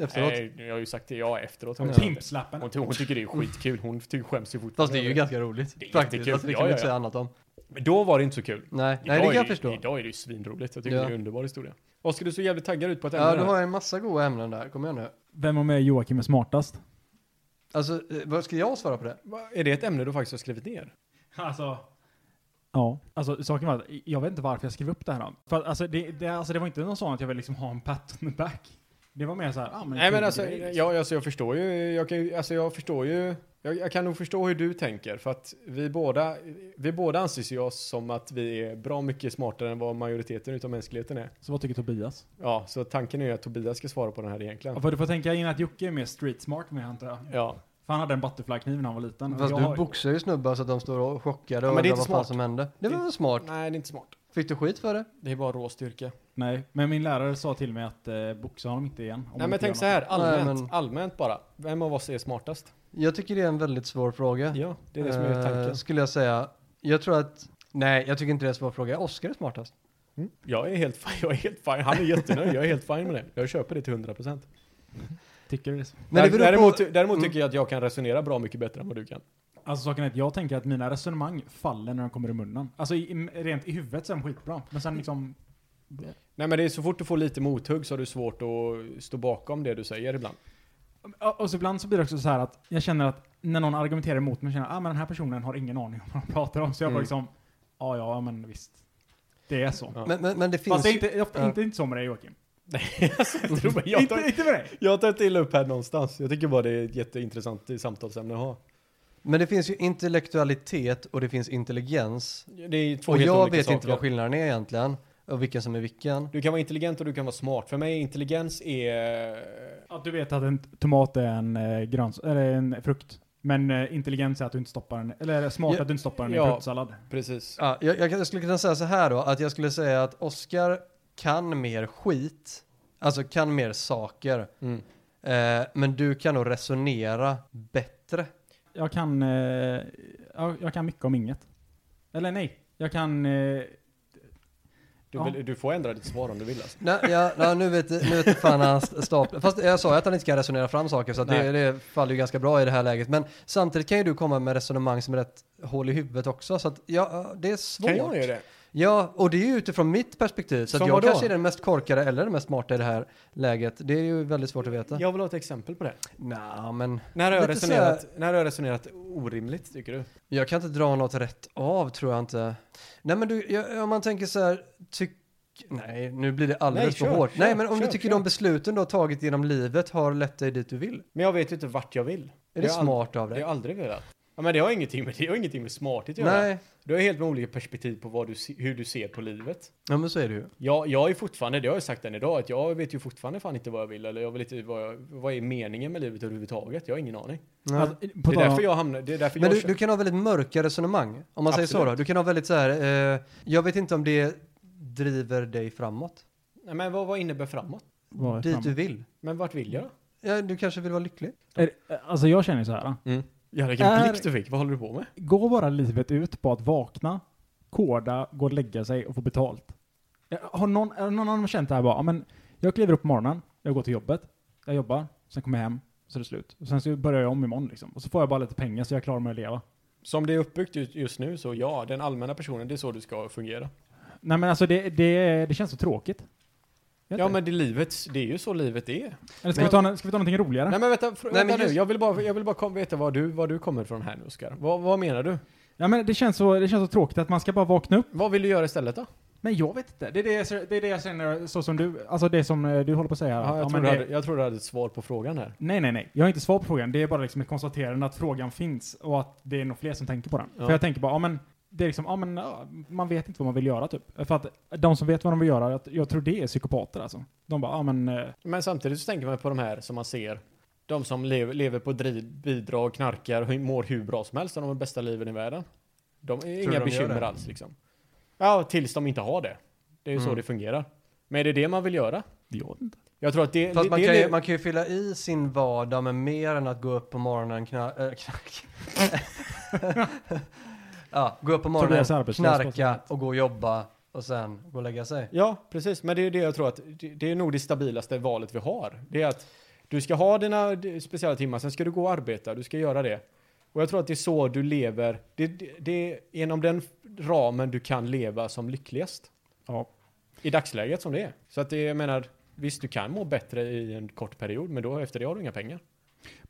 Speaker 4: Efteråt?
Speaker 3: Nej, jag har ju sagt det jag efteråt. Hon,
Speaker 1: Hon
Speaker 3: hon,
Speaker 1: Pimpslappen.
Speaker 3: ty- hon tycker det är skitkul. Hon ty- skäms ju fortfarande.
Speaker 4: Fast det är ju
Speaker 3: över det.
Speaker 4: ganska roligt.
Speaker 3: Det är
Speaker 4: Faktiskt,
Speaker 3: jättekul.
Speaker 4: alltså, det
Speaker 3: Ja,
Speaker 4: kan vi
Speaker 3: ja,
Speaker 4: inte
Speaker 3: ja.
Speaker 4: säga annat om.
Speaker 3: Men då var det inte så kul.
Speaker 4: Nej,
Speaker 3: Idag
Speaker 4: nej det kan
Speaker 3: är
Speaker 4: jag
Speaker 3: ju-
Speaker 4: förstå.
Speaker 3: Idag är det ju svinroligt. Jag tycker
Speaker 4: Ja.
Speaker 3: det är en underbar historia. Oskar, du såg jävligt taggad ut på ett ämne.
Speaker 4: Ja, du
Speaker 3: där.
Speaker 4: har en massa goda ämnen där. Kom igen nu.
Speaker 1: Vem av mig är Joakim är smartast?
Speaker 4: Alltså, eh, vad ska jag svara på det?
Speaker 3: Va, Är det ett ämne du faktiskt har skrivit ner?
Speaker 1: Alltså. Ja, alltså saken var att jag vet inte varför jag skrev upp det här. då. För att, alltså, det, det, alltså, det var inte någon sån att jag ville liksom ha en pattern back. Det var mer så här, ah, men
Speaker 3: Nej men
Speaker 1: kul
Speaker 3: alltså,
Speaker 1: grej, liksom.
Speaker 3: jag, alltså jag förstår ju, jag kan, ju- alltså jag förstår ju, jag, jag kan nog förstå hur du tänker för att vi båda, vi båda anses ju oss som att vi är bra mycket smartare än vad majoriteten utav mänskligheten är.
Speaker 1: Så vad tycker Tobias?
Speaker 3: Ja, så tanken är ju att Tobias ska svara på den här
Speaker 1: Ja,
Speaker 3: egentligen.
Speaker 1: för du får tänka in att Jocke är mer street smart med antar jag.
Speaker 3: Ja,
Speaker 1: För han hade en butterflykniv när han var liten.
Speaker 4: Fast
Speaker 1: jag,
Speaker 4: du boxar ju snubbar så att de står och chockade och
Speaker 3: men det är
Speaker 4: undrar
Speaker 3: inte
Speaker 4: vad fan
Speaker 3: smart.
Speaker 4: som hände. Det var
Speaker 3: Det-
Speaker 4: väl smart?
Speaker 3: nej det är inte smart.
Speaker 4: Fick du skit för det?
Speaker 3: Det är bara rå styrka.
Speaker 1: Nej, men min lärare sa till mig att eh, boxa honom inte igen. om
Speaker 3: nej
Speaker 1: han
Speaker 3: men
Speaker 1: inte
Speaker 3: tänk
Speaker 1: gör
Speaker 3: så här, allmänt,
Speaker 4: Nej, men-
Speaker 3: allmänt bara. Vem av oss är smartast?
Speaker 4: Jag tycker det är en väldigt svår fråga.
Speaker 3: Ja, det är det som är
Speaker 4: Eh,
Speaker 3: tanken.
Speaker 4: Skulle jag säga. Jag tror att, nej jag tycker inte det är en svår fråga. Oskar är smartast. Mm.
Speaker 3: Jag är helt fine, jag är helt fine. Han är jättenöjd, jag är helt fine med det. Jag köper det till 100%.
Speaker 1: något. Tycker du det?
Speaker 4: Men det beror på- Mm.
Speaker 3: däremot, däremot tycker jag att jag kan resonera bra mycket bättre än vad du kan.
Speaker 1: Alltså saken är att jag tänker att mina resonemang faller när de kommer i munnen. Alltså i, i, rent i huvudet så är de skitbra. Men sen liksom...
Speaker 3: Nej men det är så fort du får lite mothugg så har du svårt att stå bakom det du säger ibland.
Speaker 1: Ja, Och så ibland så blir det också så här att jag känner att när någon argumenterar emot mig känner jag ah, men den här personen har ingen aning om vad de pratar om. Så jag bara
Speaker 3: Mm.
Speaker 1: liksom, ja ja men visst. Det är så.
Speaker 3: Ja.
Speaker 4: Men, men, men det finns
Speaker 1: Fast det är
Speaker 4: ju-
Speaker 1: inte, ofta,
Speaker 4: ja.
Speaker 1: inte, inte så med dig Joakim.
Speaker 3: Tror alltså, mig, jag,
Speaker 1: Inte,
Speaker 3: tar,
Speaker 1: inte med dig.
Speaker 3: jag tar inte illa upp här någonstans. Jag tycker bara det är ett jätteintressant samtalsämne att ha.
Speaker 4: Men det finns ju intellektualitet och det finns intelligens.
Speaker 3: Det är två
Speaker 4: Och
Speaker 3: helt
Speaker 4: jag
Speaker 3: olika
Speaker 4: vet
Speaker 3: saker.
Speaker 4: inte vad skillnaden är egentligen. Och vilken som är vilken.
Speaker 3: Du kan vara intelligent och du kan vara smart. För mig intelligens är...
Speaker 1: Att du vet att en tomat är en, eh, gröns eller en frukt. Men eh, intelligens är att du inte stoppar den, eller smart
Speaker 4: Ja,
Speaker 1: att du inte stoppar den i
Speaker 3: ja.
Speaker 1: en fruktsallad.
Speaker 3: Precis.
Speaker 4: Ja, jag, jag, kan- jag skulle kunna säga så här då, att jag skulle säga att Oscar kan mer skit, alltså kan mer saker,
Speaker 3: Mm.
Speaker 4: eh, men du kan nog resonera bättre.
Speaker 1: Jag kan, eh, ja, jag kan mycket om inget. Eller nej, jag kan... Eh,
Speaker 3: Du,
Speaker 1: Ja.
Speaker 3: vill, du får ändra ditt svar om du vill alltså.
Speaker 4: Nej, ja, ja, nu vet, nu vet fan han staplar. Fast jag sa ju att han inte kan resonera fram saker, så att det,
Speaker 3: Nej.
Speaker 4: det faller ju ganska bra i det här läget. Men samtidigt kan ju du komma med resonemang som är rätt hål i huvudet också, så att ja, det är svårt.
Speaker 3: Kan jag göra det?
Speaker 4: Ja, och det är ju utifrån mitt perspektiv. Så att
Speaker 3: Som
Speaker 4: jag
Speaker 3: vadå?
Speaker 4: kanske är den mest korkade eller den mest smarta i det här läget. Det är ju väldigt svårt att veta.
Speaker 3: Jag vill ha ett exempel på det.
Speaker 4: Nja, men
Speaker 3: När har jag,
Speaker 4: Lite så
Speaker 3: resonerat, när har jag resonerat orimligt, tycker du?
Speaker 4: jag kan inte dra något rätt av tror jag inte. Nej, men du, jag, om man tänker så här, tyck... Nej, nu blir det alldeles
Speaker 3: Nej,
Speaker 4: för
Speaker 3: kör,
Speaker 4: hårt. Nej,
Speaker 3: kör,
Speaker 4: men om du
Speaker 3: kör,
Speaker 4: tycker
Speaker 3: kör.
Speaker 4: de besluten du har tagit genom livet har lett dig dit du vill.
Speaker 3: Men jag vet ju inte vart jag vill.
Speaker 4: Är det
Speaker 3: Jag har ald-
Speaker 4: smart av
Speaker 3: Det har
Speaker 4: dig?
Speaker 3: jag aldrig velat. Ja, men det har ingenting med, det har ingenting med smarthet att göra.
Speaker 4: Nej,
Speaker 3: Du har helt med olika perspektiv på vad du, se- hur du ser på livet.
Speaker 4: ja, men så är det ju.
Speaker 3: Jag, jag är fortfarande, det har jag sagt än idag, att jag vet ju fortfarande fan inte vad jag vill eller jag vet inte vad, jag, vad är meningen med livet överhuvudtaget. Jag har ingen aning.
Speaker 4: Nej.
Speaker 1: Alltså, på
Speaker 3: Det är
Speaker 1: tal
Speaker 3: därför
Speaker 1: om,
Speaker 3: jag hamnar, det är därför
Speaker 4: Men
Speaker 3: jag
Speaker 4: du, du kan ha väldigt mörka resonemang, om man säger så då.
Speaker 3: Absolut.
Speaker 4: Du kan ha väldigt så här, eh, jag vet inte om det driver dig framåt.
Speaker 3: Nej, men vad, vad innebär framåt?
Speaker 1: vad är
Speaker 4: Dit
Speaker 1: fram-
Speaker 4: du vill.
Speaker 3: Men vart vill jag då?
Speaker 4: Ja, du kanske vill vara lycklig.
Speaker 1: Är- Alltså jag känner så här.
Speaker 3: Ja,
Speaker 1: Är-
Speaker 3: vilken blick du fick, vad håller du på med?
Speaker 1: Går bara livet ut på att vakna, koda, gå och lägga sig och få betalt? Eh, Har någon, har någon annan känt det här bara, "Ja, men jag kliver upp på morgonen, jag går till jobbet, jag jobbar, sen kommer jag hem, så är det slut. Och sen så börjar jag om imorgon liksom. Och så får jag bara lite pengar så jag klarar mig att leva.
Speaker 3: Som det är uppbyggt ju- just nu så ja, den allmänna personen, det är så du ska fungera.
Speaker 1: Nej men alltså det, det, det känns så tråkigt. Jag vet
Speaker 3: Ja
Speaker 1: inte.
Speaker 3: men det, är livet, det är ju så livet är.
Speaker 1: Eller ska,
Speaker 3: men-
Speaker 1: vi ta, nå- ska vi ta någonting roligare?
Speaker 3: Nej men vänta, fr-
Speaker 4: Nej,
Speaker 3: vänta
Speaker 4: men
Speaker 3: nu,
Speaker 4: just-
Speaker 3: jag vill bara, jag vill bara kom, veta var du, var du kommer från här nu Oskar. Vad, vad menar du?
Speaker 1: Ja men det känns, så, det känns så tråkigt att man ska bara vakna upp.
Speaker 3: Vad vill du göra istället då?
Speaker 1: Men jag vet inte. Det är det, jag ser- det, är det jag känner, så som du, alltså det som eh, du håller på att säga.
Speaker 3: Ja, jag,
Speaker 1: Ja,
Speaker 3: tror
Speaker 1: men
Speaker 3: du
Speaker 1: det-
Speaker 3: hade, jag tror du hade ett svar på frågan här.
Speaker 1: Nej, nej, nej. Jag har inte svar på frågan. Det är bara liksom ett konstaterande att frågan finns och att det är nog fler som tänker på den.
Speaker 3: Ja.
Speaker 1: För jag tänker bara, ja men, det är liksom, ja men, ja, man vet inte vad man vill göra typ. För att de som vet vad de vill göra, jag, jag tror det är psykopater alltså. De bara, ja men, eh,
Speaker 3: Men samtidigt så tänker man på de här som man ser. De som lever, lever på driv, bidrag, knarkar, hu- mår hur bra som helst och de har bästa liven i världen. De är
Speaker 4: de
Speaker 3: inga
Speaker 4: gör
Speaker 3: bekymmer
Speaker 4: det?
Speaker 3: alls liksom. Ja, tills de inte har det. Det är ju så
Speaker 4: Mm.
Speaker 3: det fungerar. Men är det det man vill göra?
Speaker 1: jag vet inte.
Speaker 3: Jag tror att det...
Speaker 4: Fast
Speaker 3: det,
Speaker 4: man
Speaker 3: det,
Speaker 4: kan, ju,
Speaker 3: det-
Speaker 4: man kan ju fylla i sin vardag med mer än att gå upp på morgonen kna, äh, knark. ja, gå upp på morgonen,
Speaker 1: Tobias är arbetslös,
Speaker 4: knarka
Speaker 1: vad
Speaker 4: och gå och jobba och sen gå och lägga sig.
Speaker 3: Ja, precis. Men det är ju det jag tror att det, det är nog det stabilaste valet vi har. Det är att du ska ha dina d- speciella timmar, sen ska du gå och arbeta, du ska göra det. Och jag tror att det är så du lever. Det, det, det är inom den f- ramen du kan leva som lyckligast.
Speaker 1: Ja.
Speaker 3: I dagsläget som det är. Så att det, jag menar, visst du kan må bättre i en kort period, men då efter det har du inga pengar.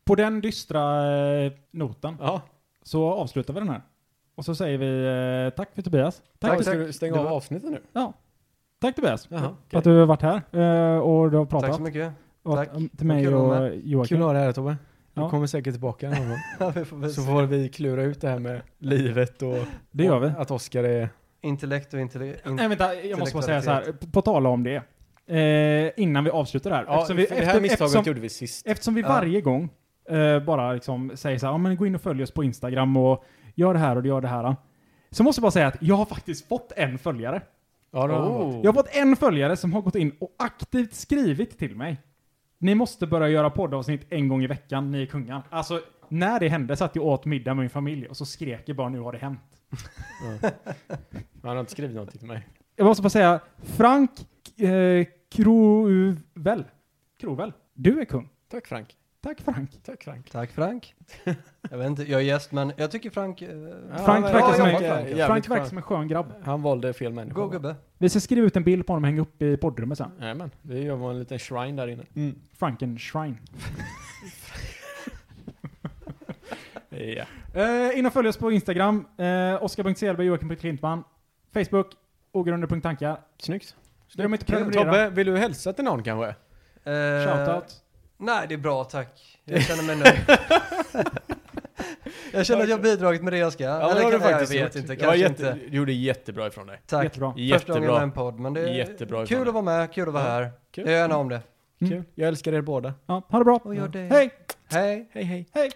Speaker 1: På den dystra eh, notan
Speaker 3: Ja,
Speaker 1: så avslutar vi den här. Och så säger vi eh, tack för Tobias.
Speaker 3: tack.
Speaker 1: tack.
Speaker 3: Ska du stänga
Speaker 1: Det
Speaker 3: av
Speaker 1: var-
Speaker 3: avsnittet nu?
Speaker 1: Ja. Tack Tobias.
Speaker 3: Jaha,
Speaker 1: För
Speaker 3: okej.
Speaker 1: att du har varit här eh, och du har pratat.
Speaker 4: Tack så mycket.
Speaker 1: Och,
Speaker 4: tack.
Speaker 1: mm, Till mig
Speaker 4: Kul att vara
Speaker 1: och Joakim.
Speaker 3: Kul att ha dig här Tobbe. Du
Speaker 1: Ja.
Speaker 3: kommer säkert tillbaka någon gång.
Speaker 4: Ja, vi får väl
Speaker 3: Så
Speaker 4: se.
Speaker 3: får vi klura ut det här med livet och
Speaker 1: Det gör vi.
Speaker 3: att Oskar är
Speaker 4: Intellekt och intellekt.
Speaker 1: Nej
Speaker 4: In,
Speaker 1: vänta, jag måste bara säga
Speaker 4: Intellektualitet.
Speaker 1: så här, på, på tala om det. Eh, innan vi avslutar det här.
Speaker 3: Ja,
Speaker 1: eftersom vi,
Speaker 3: för det här
Speaker 1: efter-
Speaker 3: misstaget
Speaker 1: eftersom,
Speaker 3: gjorde vi sist.
Speaker 1: eftersom vi
Speaker 4: Ja.
Speaker 1: varje gång eh, bara liksom säger så här, ja men gå in och följ oss på Instagram och gör det här och gör det här. Så måste jag bara säga att jag har faktiskt fått en följare.
Speaker 3: Ja, det har han
Speaker 4: Oh.
Speaker 3: fått.
Speaker 1: Jag har fått en följare som har gått in och aktivt skrivit till mig. Ni måste börja göra poddavsnitt en gång i veckan, ni är kungar. Alltså, när det hände satt jag och åt middag med min familj och så skrek jag bara nu har det hänt.
Speaker 3: han har inte skrivit någonting till mig.
Speaker 1: Jag måste bara säga, Frank eh, Krovel. Krovel. Du är kung.
Speaker 3: Tack Frank.
Speaker 1: Tack Frank.
Speaker 3: Tack Frank.
Speaker 4: tack Frank. Jag vet inte, jag är gäst men jag tycker Frank... eh,
Speaker 1: Frank
Speaker 3: men-
Speaker 1: verkar som
Speaker 4: ja,
Speaker 1: en,
Speaker 4: Frank,
Speaker 1: Frank,
Speaker 3: jävligt
Speaker 1: verkar
Speaker 3: skön.
Speaker 1: som en skön grabb.
Speaker 3: Han valde fel människa.
Speaker 4: Gå gubbe.
Speaker 1: Vi ska skriva ut en bild på honom och hänga upp i poddrummet sen.
Speaker 3: Jajamän. Vi gör en liten shrine där inne.
Speaker 1: Frankenstein.
Speaker 3: Ja.
Speaker 1: Eh, in och följ oss på Instagram. Eh, Oskar.Selberg, Joakim.Klintman. Facebook, ogrunder.tankar.
Speaker 3: Snyggt.
Speaker 1: Glöm inte att
Speaker 4: Kul.
Speaker 1: prenumerera.
Speaker 3: Tobbe, vill du hälsa till någon kanske?
Speaker 4: Eh,
Speaker 1: Shoutout.
Speaker 4: Nej, det är bra tack. Jag känner mig nöjd. jag känner att jag har bidragit med det jag ska.
Speaker 3: men det har du
Speaker 4: jag
Speaker 3: faktiskt
Speaker 4: vet
Speaker 3: gjort.
Speaker 4: inte,
Speaker 3: Det var
Speaker 4: kanske
Speaker 3: jätte,
Speaker 4: inte.
Speaker 3: Du gjorde jättebra ifrån dig.
Speaker 4: Tack.
Speaker 1: Jättebra.
Speaker 4: Första gången med
Speaker 3: Jättebra.
Speaker 4: en podd, men det är
Speaker 3: Jättebra
Speaker 4: kul
Speaker 3: ifrån
Speaker 4: att vara med, kul att vara
Speaker 3: Ja,
Speaker 4: här.
Speaker 3: kul.
Speaker 4: Jag gör gärna om det.
Speaker 3: Kul. Jag Mm. älskar er båda.
Speaker 1: Ja, ha det bra.
Speaker 4: Och gör det.
Speaker 1: Hej!
Speaker 4: Mm. Hej!
Speaker 3: Hej hej.
Speaker 1: Hej!